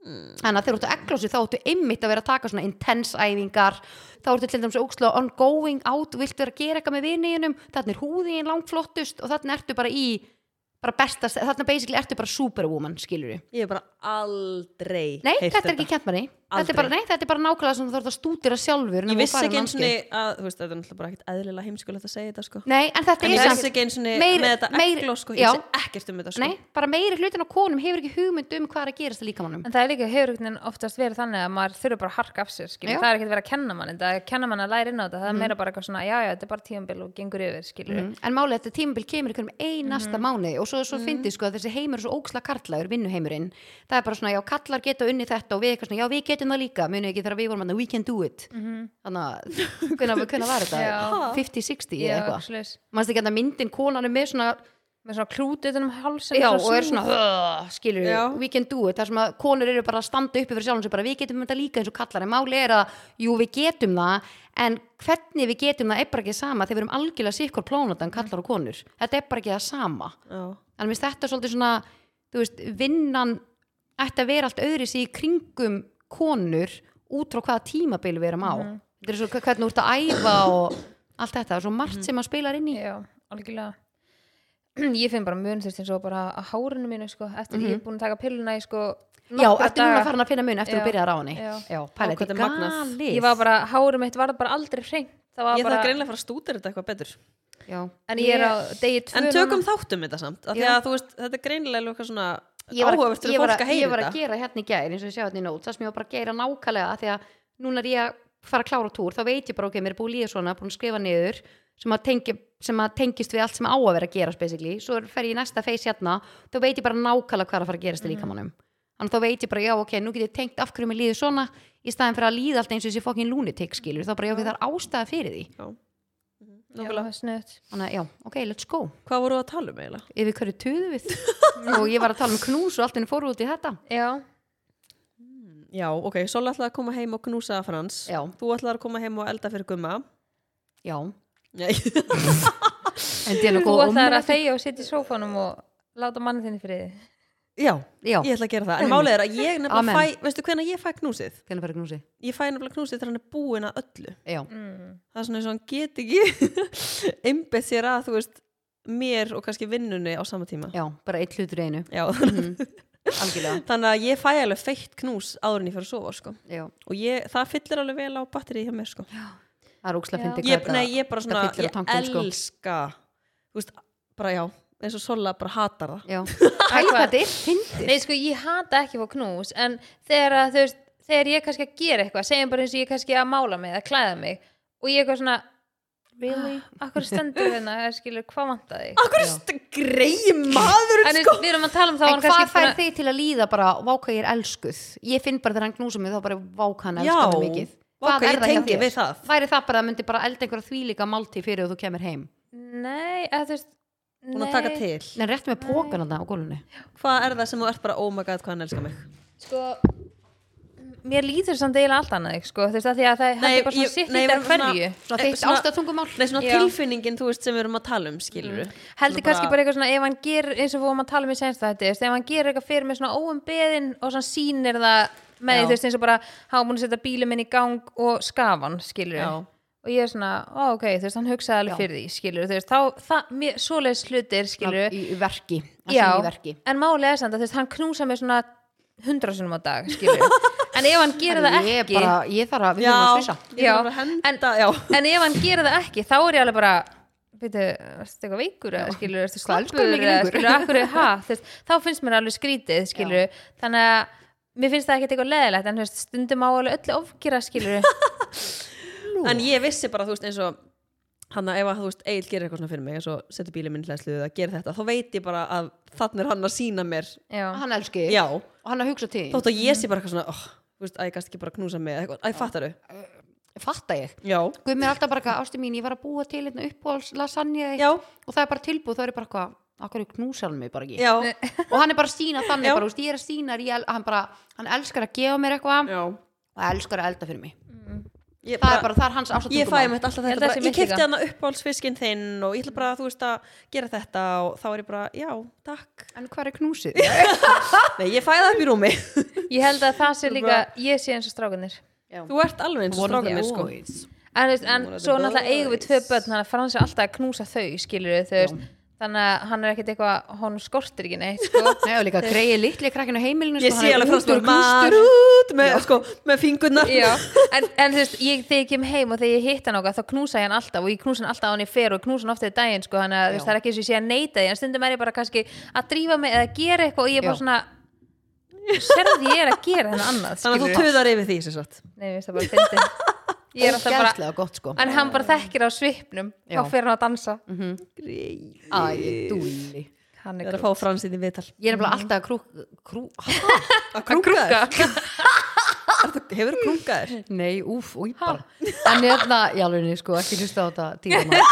Speaker 1: Mm.
Speaker 2: þannig að þegar þú ert að eglósi þá ertu einmitt að vera að taka svona intense æfingar þá ertu til dæmis óksla ongoing out viltu vera að gera eitthvað með viniðinum þarna er húðin langflottust og þarna ertu bara í bara besta, þarna basically ertu bara superwoman skilur við
Speaker 1: Ég hef bara aldrei
Speaker 2: Nei,
Speaker 1: heyrt
Speaker 2: þetta er ekki kent manni þetta
Speaker 1: Aldrei.
Speaker 2: er, bara, nei, þetta er bara nákvæmlega sem þú þarf að stúdira sjálfur nema
Speaker 1: Ég
Speaker 2: þú
Speaker 1: vissi
Speaker 2: farir
Speaker 1: ekki eins
Speaker 2: námskeið.
Speaker 1: og að, þú veist, þetta er náttúrulega bara ekkert eðlilega heimskulegt að segja þetta sko
Speaker 2: Nei, en þetta
Speaker 1: En ég
Speaker 2: er
Speaker 1: vissi ekki eins og
Speaker 2: Meir-
Speaker 1: með þetta
Speaker 2: meir-
Speaker 1: egló sko,
Speaker 2: já.
Speaker 1: ég vissi ekkert um þetta sko
Speaker 2: Nei, bara meiri hlutin á konum hefur ekki hugmynd um hvað er að gerast í líkamannum
Speaker 3: En það er líka hefurugnin oftast verið þannig að maður þurfa bara að harka af sér,
Speaker 2: Já.
Speaker 3: skilur.
Speaker 2: Mm-hmm.
Speaker 3: Það er ekkert verið að kenna mann, þetta er að kenna mann að læra inn á þetta, það er meira bara eitthvað svona, já, já, þetta er bara tíumbil og gengur yfir, skilur.
Speaker 2: Mm. en málið er að þetta tímabil kemur í hverjum einasta
Speaker 3: Mhm.
Speaker 2: mánuði og svo, svo mm. fyndið sko að þessi heimur er svo óksla karlaður, vinnuheimurinn það er bara svona, já, kallar geta unnið þetta og við eitthvað svona, já, við getum það líka, munið ekki þegar við vorum að we can do it þannig að, hvenær hvenær var þetta?
Speaker 3: Mhm. Já.
Speaker 2: 50-60
Speaker 3: Já,
Speaker 2: eða eitthvað
Speaker 3: svoleiðis.
Speaker 2: mannst ekki að myndin konan er með svona
Speaker 3: Með svona klút utan um hálsinn.
Speaker 2: já, og er svona, "Ugh," skilur
Speaker 1: Já.
Speaker 2: við we can do it, þar sem að konur eru bara að standa uppi fyrir sjálfum sér, bara við getum þetta líka eins og kallar en máli er að, jú við getum það en hvernig við getum það er bara ekki sama þegar við erum algjörlega sikkur plónatan kallar og konur, þetta er bara ekki það sama
Speaker 1: Já.
Speaker 2: en mér finnst þetta svolítið svona þú veist, vinnan ætti að vera allt öðri í kringum konur út frá hvaða tímabil við erum á þetta er svo hvernig þú ert að æfa og allt þetta, það er svo margt sem að spila inn í
Speaker 3: Já, algjörlega. Ég finn bara mun, þú veist, eins og bara að hárinu mínu, sko, eftir ég er búin að taka pilluna í, sko,
Speaker 2: Já,
Speaker 3: nokkra
Speaker 2: eftir núna
Speaker 3: daga.
Speaker 2: farin að finna mun eftir að
Speaker 3: Já.
Speaker 2: byrja að ráni
Speaker 3: Já.
Speaker 2: Já
Speaker 1: Ó, hvað
Speaker 2: pæli, þetta er
Speaker 1: þetta er magnað.
Speaker 2: galið
Speaker 3: Ég var bara, hárið mitt var bara aldrei hreint. Það var
Speaker 1: Ég
Speaker 3: bara,
Speaker 1: þarf greinlega að fara að stúdera þetta eitthvað betur
Speaker 2: Já.
Speaker 3: en ég er á degi tvö.
Speaker 1: En
Speaker 3: núna.
Speaker 1: tökum þáttum þetta samt af Því
Speaker 2: Já.
Speaker 1: að þú veist, þetta er greinlega eitthvað svona
Speaker 2: Ég var,
Speaker 1: áhugavert
Speaker 2: ég
Speaker 1: fyrir
Speaker 2: var,
Speaker 1: fólk að
Speaker 2: ég
Speaker 1: heyra
Speaker 2: var að
Speaker 1: þetta
Speaker 2: gera hérna í gæri eins og ég sjá hérna í nót það sem ég var bara að gera nákvæmlega af því að núna er ég að fara að klára túr þá veit ég bara ok, mér er búið líða svona, búin að skrifa niður sem að, tengi, sem að tengist við allt sem á að vera að gerast basically, svo fer ég í næsta feys hérna, þá veit ég bara nákvæmlega hvað er að fara að gerast í
Speaker 3: Mhm.
Speaker 2: líkamannum, þannig að þá veit ég bara já ok, nú get ég tengt af hverju mér líður svona í staðin fyrir að líða allt eins og þessi fokkin lunatic skilur, þá bara já ok, það er ástæða fyrir því
Speaker 3: Já,
Speaker 1: Nákvæmlega.
Speaker 3: það er snuðt.
Speaker 2: þannig að já, ok, let's go
Speaker 1: Hvað voru að tala um eiginlega?
Speaker 2: yfir hverju tuðu við og ég var að tala um knús og allt henni fóru út í þetta
Speaker 3: Já,
Speaker 1: Já, ok, Sola ætlaði að koma heim og knúsa Frans
Speaker 2: Já.
Speaker 1: Þú ætlaði að koma heim og elda fyrir gumma
Speaker 2: já, en
Speaker 1: Nei,
Speaker 2: þetta er
Speaker 3: þú
Speaker 2: nokkuð
Speaker 3: ætlar að þegja og sitja í sófanum og láta manni þinni friði.
Speaker 1: Já,
Speaker 2: Já.
Speaker 1: ég ætla að gera það En málið er að ég
Speaker 2: Amen.
Speaker 1: nefnilega fæ, veistu hvenær ég fæ knúsið?
Speaker 2: hvernig færi knúsi
Speaker 1: Ég fæ nefnilega knúsið þegar hann er búin að öllu
Speaker 2: já,
Speaker 1: það er svona eins og hann get ekki einbett sér að þú veist mér og kannski vinnunni á sama tíma
Speaker 2: já, bara eitt hlutur í einu
Speaker 1: já,
Speaker 2: algjörlega,
Speaker 1: þannig að ég fæ alveg feitt knús áður en ég fyrir að sofa sko.
Speaker 2: já,
Speaker 1: og ég, það fyllir alveg vel á batteri hjá mér sko.
Speaker 2: það er ókslega
Speaker 3: Já.
Speaker 2: fyndi
Speaker 1: ég, nei, ég bara svona,
Speaker 2: fyllir á
Speaker 1: ég
Speaker 2: tankin, sko.
Speaker 1: elska þú veist, bara já eins og Sola bara hatar það
Speaker 2: já, hæg hvað þetta er fyndi
Speaker 3: Nei, sko, ég hata ekki að fá knús en þegar, að, þú veist, þegar ég er kannski að gera eitthvað segjum bara eins og ég er kannski að mála mig eða klæða mig og ég er eitthvað svona Really? Akkur stendur hérna, eða skilur, hvað vanta þig?
Speaker 1: Akkur greið maður
Speaker 3: En þú veist, við erum að tala um það
Speaker 2: en hvað fær þig til að líða bara váka ég er elskuð, ég finn bara þegar hann knúsa mig þá bara váka hann
Speaker 1: Já,
Speaker 2: elskar mig mikið
Speaker 1: Vá,
Speaker 2: Hvað
Speaker 1: hvað
Speaker 2: er
Speaker 1: ég
Speaker 2: það hjá
Speaker 1: tengi
Speaker 2: þér?
Speaker 1: við það
Speaker 2: væri það bara að myndi bara elda einhverja þvílíka máltíð fyrir og þú kemur heim
Speaker 3: Nei, eða þú veist
Speaker 1: Búin að
Speaker 3: nei.
Speaker 1: taka til
Speaker 2: en rétt með pókan á gólunni
Speaker 1: Hvað er það sem þú ert bara, oh my god, hvað hann elskar mig
Speaker 3: Sko, mér líður samt eiginlega allt annað, sko, þú veist, að því að það
Speaker 1: Nei,
Speaker 3: er bara svona
Speaker 1: ég-
Speaker 3: sitt
Speaker 1: nei,
Speaker 3: í
Speaker 1: við
Speaker 3: dag
Speaker 1: erum svona-
Speaker 3: hverju
Speaker 2: svona
Speaker 1: Eh,
Speaker 2: þitt
Speaker 1: svona-
Speaker 2: ástæðatungumál
Speaker 1: Nei, svona
Speaker 3: Já.
Speaker 1: tilfinningin, þú veist, sem við erum að tala um, skilur
Speaker 2: Mm.
Speaker 3: heldur kannski bara eitthvað svona ef hann gerir eins og við fórum að tala um í senst þetta ef hann gerir eitthvað fyrir mig svona óumbeðin og svona sýnir það með
Speaker 1: Já.
Speaker 3: því þú veist eins og bara hafa búin að setja bílum minn í gang og skafa hann skilur
Speaker 1: Já.
Speaker 3: og ég er svona, ó, ok, þú veist, hann hugsaði alveg fyrir því skilur, þú veist, þá, það, mér, svoleiðis hlutir skilur,
Speaker 2: í, í verki, að
Speaker 3: já,
Speaker 2: sýna í verki
Speaker 3: en málið er samt að þú veist, hann knúsa mig svona hundra sinum á dag skilur, en ef hann gerir það
Speaker 2: ég,
Speaker 3: ekki
Speaker 2: bara, ég þarf að, við
Speaker 1: Já,
Speaker 2: þurfum að svissa
Speaker 1: ég
Speaker 3: Já,
Speaker 1: þarf að henda,
Speaker 3: en-
Speaker 1: já
Speaker 3: en ef hann gerir það ekki þá er ég alveg bara veitu, erstu eitthvað veikur eða skilur, erstu
Speaker 2: Hvað elskuðu
Speaker 3: slappur
Speaker 2: mikið
Speaker 3: eða
Speaker 2: lengur?
Speaker 3: skilur, akkur, ha, þú veist, þá finnst mér alveg skrítið skilur, þannig að mér finnst það ekkert eitthvað leðilegt, en þú veist, stundum á alveg öllu ofgera skilur,
Speaker 1: En ég vissi bara, þú veist, eins og hann að ef að, þú veist, Egil gerir eitthvað svona fyrir mig eins og setur bílið minn í hlæslu eða gerir þetta þá veit ég bara að þannig er hann að sína mér
Speaker 3: já,
Speaker 2: hann elski þig
Speaker 1: Já,
Speaker 2: og hann að hugsa til þín
Speaker 1: þótt að ég sé bara eitthvað svona oh, þú veist, að ég gæst ekki bara að knúsa mig eða eitthvað, að ég fattar þau
Speaker 2: fatta ég
Speaker 1: Já,
Speaker 2: Guð mér er alltaf bara eitthvað, ástu mín, ég var að búa til hérna uppáhalds lasagna
Speaker 1: já,
Speaker 2: og það er bara tilbúð, það er ég bara eitthvað akkur knúsar hann mig bara ekki
Speaker 1: já
Speaker 2: og hann er bara að sína þannig
Speaker 1: Já.
Speaker 2: bara, úst, ég er að sína hann, bara, hann elskar að gefa mér eitthvað
Speaker 1: Já,
Speaker 2: og elskar að elda fyrir mig
Speaker 1: ég,
Speaker 2: það
Speaker 1: bara,
Speaker 2: er bara, það er hans ásatrúkum
Speaker 1: ég fæði mitt alltaf
Speaker 3: Ég held
Speaker 1: þetta bara,
Speaker 3: að það sé
Speaker 1: ég
Speaker 3: mitt líka.
Speaker 1: kefti hana uppáhaldsfiskinn þinn og ég ætla bara að þú veist að gera þetta og þá er ég bara, já, takk
Speaker 2: En hvað er knúsið?
Speaker 1: nei, ég fæði það upp í rúmi
Speaker 3: ég held að það sé líka, ég sé eins og strákunir
Speaker 1: þú ert alveg eins og strákanir sko
Speaker 3: en, þú veist, en
Speaker 1: One of the
Speaker 3: svo náttúrulega eigum við tvö
Speaker 1: boys.
Speaker 3: börn þannig að Frans er alltaf að knúsa þau skilur þau, þú veist þannig að hann er ekkert eitthvað, hún skortir ekki neitt sko.
Speaker 2: Nei, og líka greiði litli krakkinu heimilinu
Speaker 1: ég
Speaker 2: sko,
Speaker 1: sé
Speaker 2: hann er
Speaker 1: alveg
Speaker 2: ungur
Speaker 1: frá
Speaker 2: knústur.
Speaker 1: maður út með, sko, með fingurnar
Speaker 3: Já, en, en þú veist, ég, þegar ég kem heim og þegar ég hitt hann okkar, þá knúsa ég hann alltaf og ég knúsa hann alltaf á hann ég fer og ég knúsa hann oftið daginn, sko, þannig að þú veist,
Speaker 2: Já.
Speaker 3: það er ekki eins og ég sé að neita því, en stundum er ég bara kannski að drífa mig eða gera eitthvað og ég er
Speaker 2: Já.
Speaker 3: bara svona, sérðu ég er að gera hennar annað,
Speaker 1: þannig að
Speaker 3: skilur
Speaker 1: þú töðar yfir því sem sagt
Speaker 3: Nei, mér finnst það bara fyndi. Ég er alltaf bara,
Speaker 2: Ógeðslega gott sko
Speaker 3: en hann bara þekkir á svipnum,
Speaker 2: Já.
Speaker 3: þá fer hann að dansa.
Speaker 1: Æ,
Speaker 2: Æ, dúli
Speaker 3: Hann
Speaker 1: ég
Speaker 3: er
Speaker 1: er að fá frans inn í viðtal
Speaker 2: Ég er nefnilega
Speaker 1: Mm.
Speaker 2: alltaf að krú, krú
Speaker 1: að krunga þér,
Speaker 3: grúka.
Speaker 1: hefur þú krungað þér
Speaker 2: Nei, úf, úi bara En hérna, í alvegni sko, ekki hlusta á þetta tíma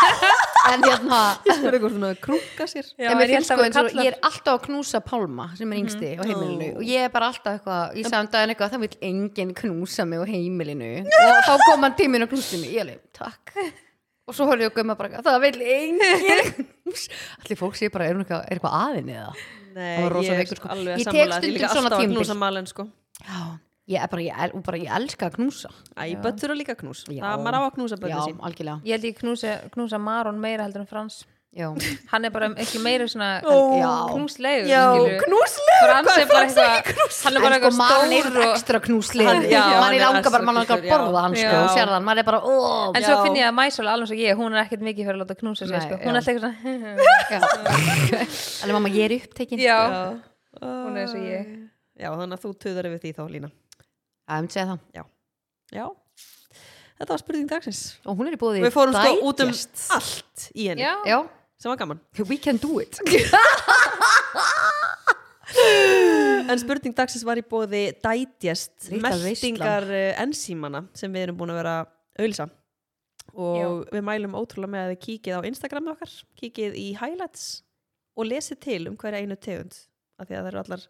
Speaker 2: En hérna
Speaker 1: ég spurði hvort hún að krunga sér Mhm.
Speaker 3: Já,
Speaker 2: en
Speaker 3: en
Speaker 2: mér
Speaker 3: ég
Speaker 2: finnst
Speaker 3: held
Speaker 2: sko
Speaker 3: að við
Speaker 2: eins og
Speaker 3: kallar-
Speaker 2: ég er alltaf að knúsa Pálma sem er yngsti á heimilinu og ég er bara alltaf eitthvað, ég sagði um daginn eitthvað það vil enginn knúsa mig á heimilinu og þá kom hann til mín og knústi mig ég alveg, takk og svo höfðu ég að gumma bara, eitthvað, það vil enginn knúsa allir fólk sé bara, er hún eitthvað, er eitthvað aðinni eða
Speaker 1: Nei,
Speaker 2: Hann var rosa
Speaker 1: ég
Speaker 2: veikur, sko.
Speaker 1: er alveg
Speaker 2: Ég tek
Speaker 1: sammála,
Speaker 2: stundum
Speaker 1: ég líka
Speaker 2: svona
Speaker 1: alltaf að
Speaker 2: tímabil.
Speaker 1: knúsa malen sko
Speaker 2: já, ég er bara, ég, el, og bara, ég elska að knúsa
Speaker 1: Æ, börn þurfa líka að knús
Speaker 2: Já.
Speaker 1: Það maður á að knúsa
Speaker 2: já,
Speaker 1: börnum sín
Speaker 2: algjörlega
Speaker 3: Ég held ég knúsa, knúsa Maron meira heldur en Frans.
Speaker 2: já,
Speaker 3: Hann er bara ekki meira svona
Speaker 1: Ó.
Speaker 2: Já.
Speaker 3: knúslegur,
Speaker 1: Já,
Speaker 3: skilur.
Speaker 1: knúslegur,
Speaker 3: Frans er bara eitthvað hann er bara
Speaker 2: en sko
Speaker 3: eitthvað
Speaker 2: mann er
Speaker 3: stór og
Speaker 2: ekstra knúslegur
Speaker 1: Hann- já, hann
Speaker 2: mann
Speaker 1: er
Speaker 2: er langar bara,
Speaker 1: extra
Speaker 2: mann langar að
Speaker 1: knúslegur,
Speaker 2: borða hann
Speaker 3: já.
Speaker 2: sko, og
Speaker 1: Já.
Speaker 2: sér það, mann er bara, ó
Speaker 3: en svo finn ég að Mæsól alveg svo ég, hún er ekkert mikið fyrir að láta knúsa sig
Speaker 2: Nei,
Speaker 3: sko.
Speaker 2: já.
Speaker 3: hún er alltaf
Speaker 2: Já.
Speaker 3: eitthvað
Speaker 2: Alveg mamma, ég er upptekinn
Speaker 3: já,
Speaker 1: Hún
Speaker 3: er eins og ég.
Speaker 1: Já, þannig að þú töðar yfir því þá, Lína
Speaker 2: Það myndi segja það
Speaker 1: Já, þetta var spurning dagsins
Speaker 2: Og hún er í bóði
Speaker 1: Við fórum sko út um
Speaker 2: Digest.
Speaker 1: allt í henni
Speaker 3: já.
Speaker 2: Já,
Speaker 1: sem var gaman
Speaker 2: we can do it
Speaker 1: En spurning dagsins var í bóði dætjast
Speaker 2: Líka
Speaker 1: meltingar ensímana sem við erum búin að vera að auðlýsa og við mælum ótrúlega með að þið kíkið á Instagramið okkar kíkið í highlights og lesið til um hverja einu tegund af því að það eru allar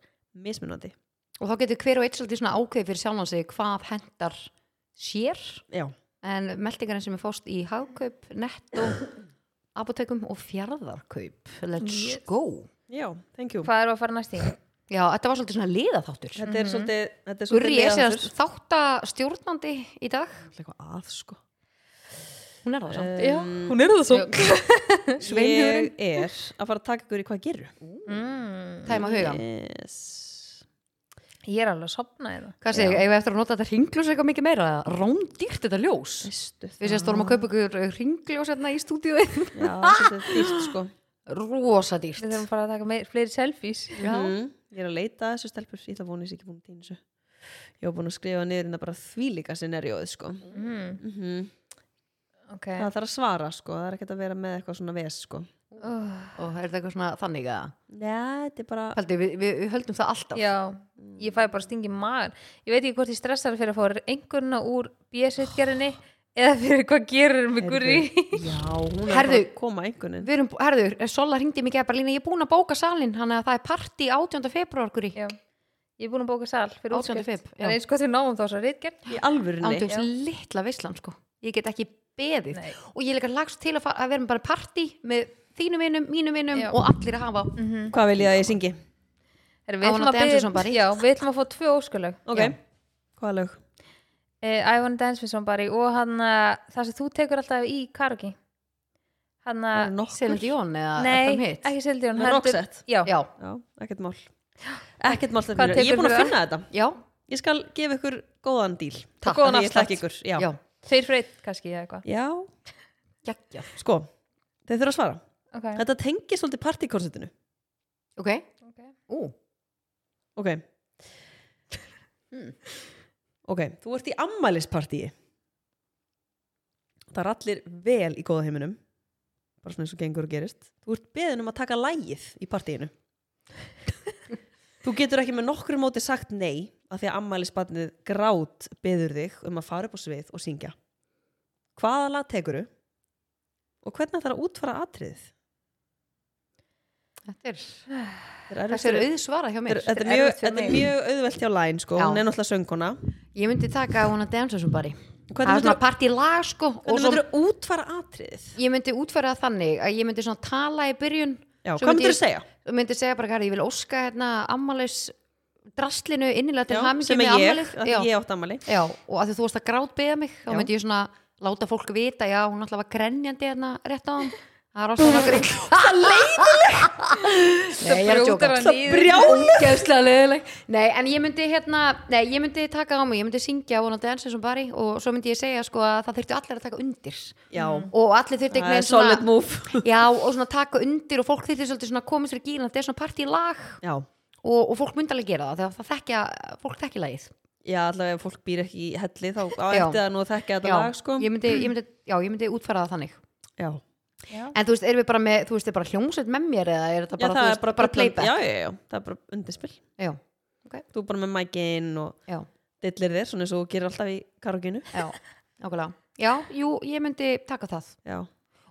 Speaker 1: mismunandi
Speaker 2: Og þá getur hver og eitt svolítið svona ákveð fyrir sjálfan sig hvað hendar sér
Speaker 1: Já,
Speaker 2: en meldingarinn sem er fóst í hagkaup, netto apotekum og fjarðarkaup Let's go
Speaker 1: já, thank you
Speaker 3: hvað er að fara næst í
Speaker 2: Já, þetta var svolítið svona liðaþáttur
Speaker 1: Þetta
Speaker 3: Mhm.
Speaker 1: er svolítið Þetta er
Speaker 2: Gurri er sér
Speaker 1: leiðangur.
Speaker 2: þáttastjórnandi í dag Eh,
Speaker 1: Þetta er eitthvað að sko
Speaker 2: Hún er það samt
Speaker 3: já,
Speaker 1: Hún er það
Speaker 3: svo.
Speaker 1: Ég er að fara að taka ykkur í hvað gerur
Speaker 3: mm.
Speaker 2: Tæma hugan
Speaker 1: yes.
Speaker 3: ég er alveg að hérna. sopna þetta
Speaker 2: Hvað segir, eigum við eftir að nota þetta ringljós eitthvað mikið meira? Rándýrt þetta ljós
Speaker 1: Veistu
Speaker 2: Við sést vorum að kaupa ykkur ringljós hérna í stúdíu
Speaker 1: Já, þetta er dýrt sko
Speaker 2: Rosa dýrt
Speaker 3: við þurfum að fara að taka meir, fleiri selfies
Speaker 1: Mhm. Ég er að leita að þessu stelpur Ég ætla að vona ég sé ekki búin að týna þessu Ég var búin að skrifa niður en það bara þvílíka scenarióð sko
Speaker 3: mm.
Speaker 1: mm
Speaker 3: ok
Speaker 1: Það þarf að svara sko Það er ekkert að vera með eitthvað svona ves sko
Speaker 3: oh.
Speaker 2: Og er þetta eitthvað svona þannig að
Speaker 1: Já, þetta er bara
Speaker 2: Paldi, við, við, við höldum það alltaf
Speaker 3: já, ég fæ bara stingi maður ég veit ekki hvort ég stressar fyrir að fá einhverna úr BS-gerðinni eða fyrir hvað gerir með gurri
Speaker 1: Já, hún er bara
Speaker 2: Herðu.
Speaker 1: að koma einhvernig
Speaker 2: Við erum, herðu, Sola ringdi mig ekki bara lína, ég er búin að bóka salin Þannig að það er party 18. februar, Guri
Speaker 3: Já. Ég er búin að bóka sal fyrir
Speaker 2: 18.
Speaker 3: útskrift.
Speaker 2: feb, já.
Speaker 3: En eins gott við náum þá svo reitgerð.
Speaker 1: Í alvörunni
Speaker 2: Ándum litla veislan, sko Ég get ekki beðið
Speaker 3: Nei.
Speaker 2: Og ég er líka lagst til að, fara, að vera með bara party Með þínum vinum, mínum vinum
Speaker 3: Já.
Speaker 2: og allir að hafa
Speaker 1: Hvað vil ég að ég syngi?
Speaker 2: I
Speaker 3: Herra, Við ætlum
Speaker 2: wanna
Speaker 3: að
Speaker 2: dance with
Speaker 3: biðja-
Speaker 2: somebody.
Speaker 3: Já, við ætlum að fá tvö óskulög.
Speaker 1: Ok,
Speaker 2: Já.
Speaker 1: hvaða lög?
Speaker 3: Uh, I wanna dance with somebody og hann að það sem þú tekur alltaf í karaoke. Hann
Speaker 1: Það eru
Speaker 3: að,
Speaker 1: nokkur.
Speaker 2: Selin Dion eða Adam
Speaker 3: nei,
Speaker 2: Hitt
Speaker 3: ekki Sildjón.
Speaker 1: Með Roxette?
Speaker 3: Já,
Speaker 2: Já,
Speaker 1: Já, ekkert mál. Ekkert mál þetta
Speaker 3: Hvað
Speaker 1: mér. Ég er
Speaker 3: tekur
Speaker 1: búin að
Speaker 3: þú
Speaker 1: finna þetta.
Speaker 2: já,
Speaker 1: Ég skal gefa ykkur góðan díl.
Speaker 2: Takk.
Speaker 1: Og góðan
Speaker 2: Af því ég
Speaker 1: afslátt.
Speaker 2: þekki
Speaker 1: ykkur. Já.
Speaker 2: já,
Speaker 1: Já.
Speaker 3: þeir freyt kannski eða eitthvað.
Speaker 2: já.
Speaker 1: sko, þeir þurfa að svara.
Speaker 3: Ok,
Speaker 1: Þetta tengir svolítið partíkonsertinu.
Speaker 2: Ok,
Speaker 3: ok.
Speaker 2: ú,
Speaker 1: Ok.
Speaker 2: Mm.
Speaker 1: Ok, Hmm. þú ert í ammælispartíi. Það er allir vel í góða heiminum. Bara svona eins og gengur og gerist. Þú ert beðin um að taka lægið í partíinu. þú getur ekki með nokkru móti sagt nei af því að ammælisbarnið grát beður þig um að fara upp á svið og syngja. Hvaða lag tekuru? Og hvernig þarf að útfara atriðið?
Speaker 2: þetta er
Speaker 1: Þetta er
Speaker 2: Þessi er
Speaker 1: erfitt-
Speaker 2: auðsvara hjá mér
Speaker 1: þetta er
Speaker 3: erfitt
Speaker 1: mjög,
Speaker 3: fyrir
Speaker 1: þetta er
Speaker 3: mig.
Speaker 1: mjög auðvelt hjá læn sko.
Speaker 2: Já.
Speaker 1: hún er náttúrulega sönguna
Speaker 2: Ég myndi taka hún að dansa sem bari það er
Speaker 1: Hvernig
Speaker 2: svona
Speaker 1: myndir
Speaker 2: partílag sko og
Speaker 1: þú
Speaker 2: svo
Speaker 1: útfara atriðið?
Speaker 2: ég myndi útfæra það þannig að ég myndi svona tala í byrjun
Speaker 1: Já,
Speaker 2: Svo
Speaker 1: hvað myndir
Speaker 2: ég-
Speaker 1: þú segja?
Speaker 2: og myndi segja bara hvað ég vil óska hérna ammælis drastlinu innilega til
Speaker 1: Já,
Speaker 2: hamingi
Speaker 1: sem er
Speaker 2: með
Speaker 1: ég,
Speaker 2: ammælið
Speaker 1: að
Speaker 2: já,
Speaker 1: ég átt ammali
Speaker 2: já, og að því þú varst að grát beða mig þá
Speaker 1: Já.
Speaker 2: myndi ég svona láta fólk vita já, hún alltaf var grenjandi hérna rétt á hann það var svona grín það leiðileg nei, ég er að
Speaker 3: Brjótar
Speaker 2: djóka
Speaker 3: hann niður.
Speaker 2: brjálega leðileg Nei, en ég myndi hérna, nei, ég myndi taka á mig ég myndi syngja vonandi enn sem bari og svo myndi ég segja sko að það þurfti allir að taka undir Mm.
Speaker 1: Já,
Speaker 2: og allir þurfti
Speaker 1: það
Speaker 2: einhvern
Speaker 1: er solid move
Speaker 2: já, og svona taka undir og fólk þurfti svolítið svona að komast fyrir gílan þetta er svona partílag
Speaker 1: Já,
Speaker 2: og, og fólk myndi alveg gera það þegar það þekkja, fólk þekkja lagið
Speaker 1: já allavega ef fólk býr ekki í helli þá á
Speaker 2: Já.
Speaker 1: eftir það nú að þekka þetta
Speaker 2: já,
Speaker 1: lag sko
Speaker 2: ég myndi, ég myndi, já, ég myndi útfæra það þannig
Speaker 1: Já,
Speaker 2: en þú veist, erum við bara með, þú veist, er bara hljómsveit með mér eða er þetta
Speaker 1: já
Speaker 2: bara,
Speaker 1: það
Speaker 2: þú
Speaker 1: er
Speaker 2: veist,
Speaker 1: bara,
Speaker 2: bara
Speaker 1: bullan-
Speaker 2: playback
Speaker 1: Já, já, já, það er bara undirspil
Speaker 2: já,
Speaker 1: Þú er bara með mækin og
Speaker 2: já,
Speaker 1: dillir þér svona eins og þú gerir alltaf í karokinu
Speaker 2: já, nákvæmlega já, jú, ég myndi taka það
Speaker 1: Já,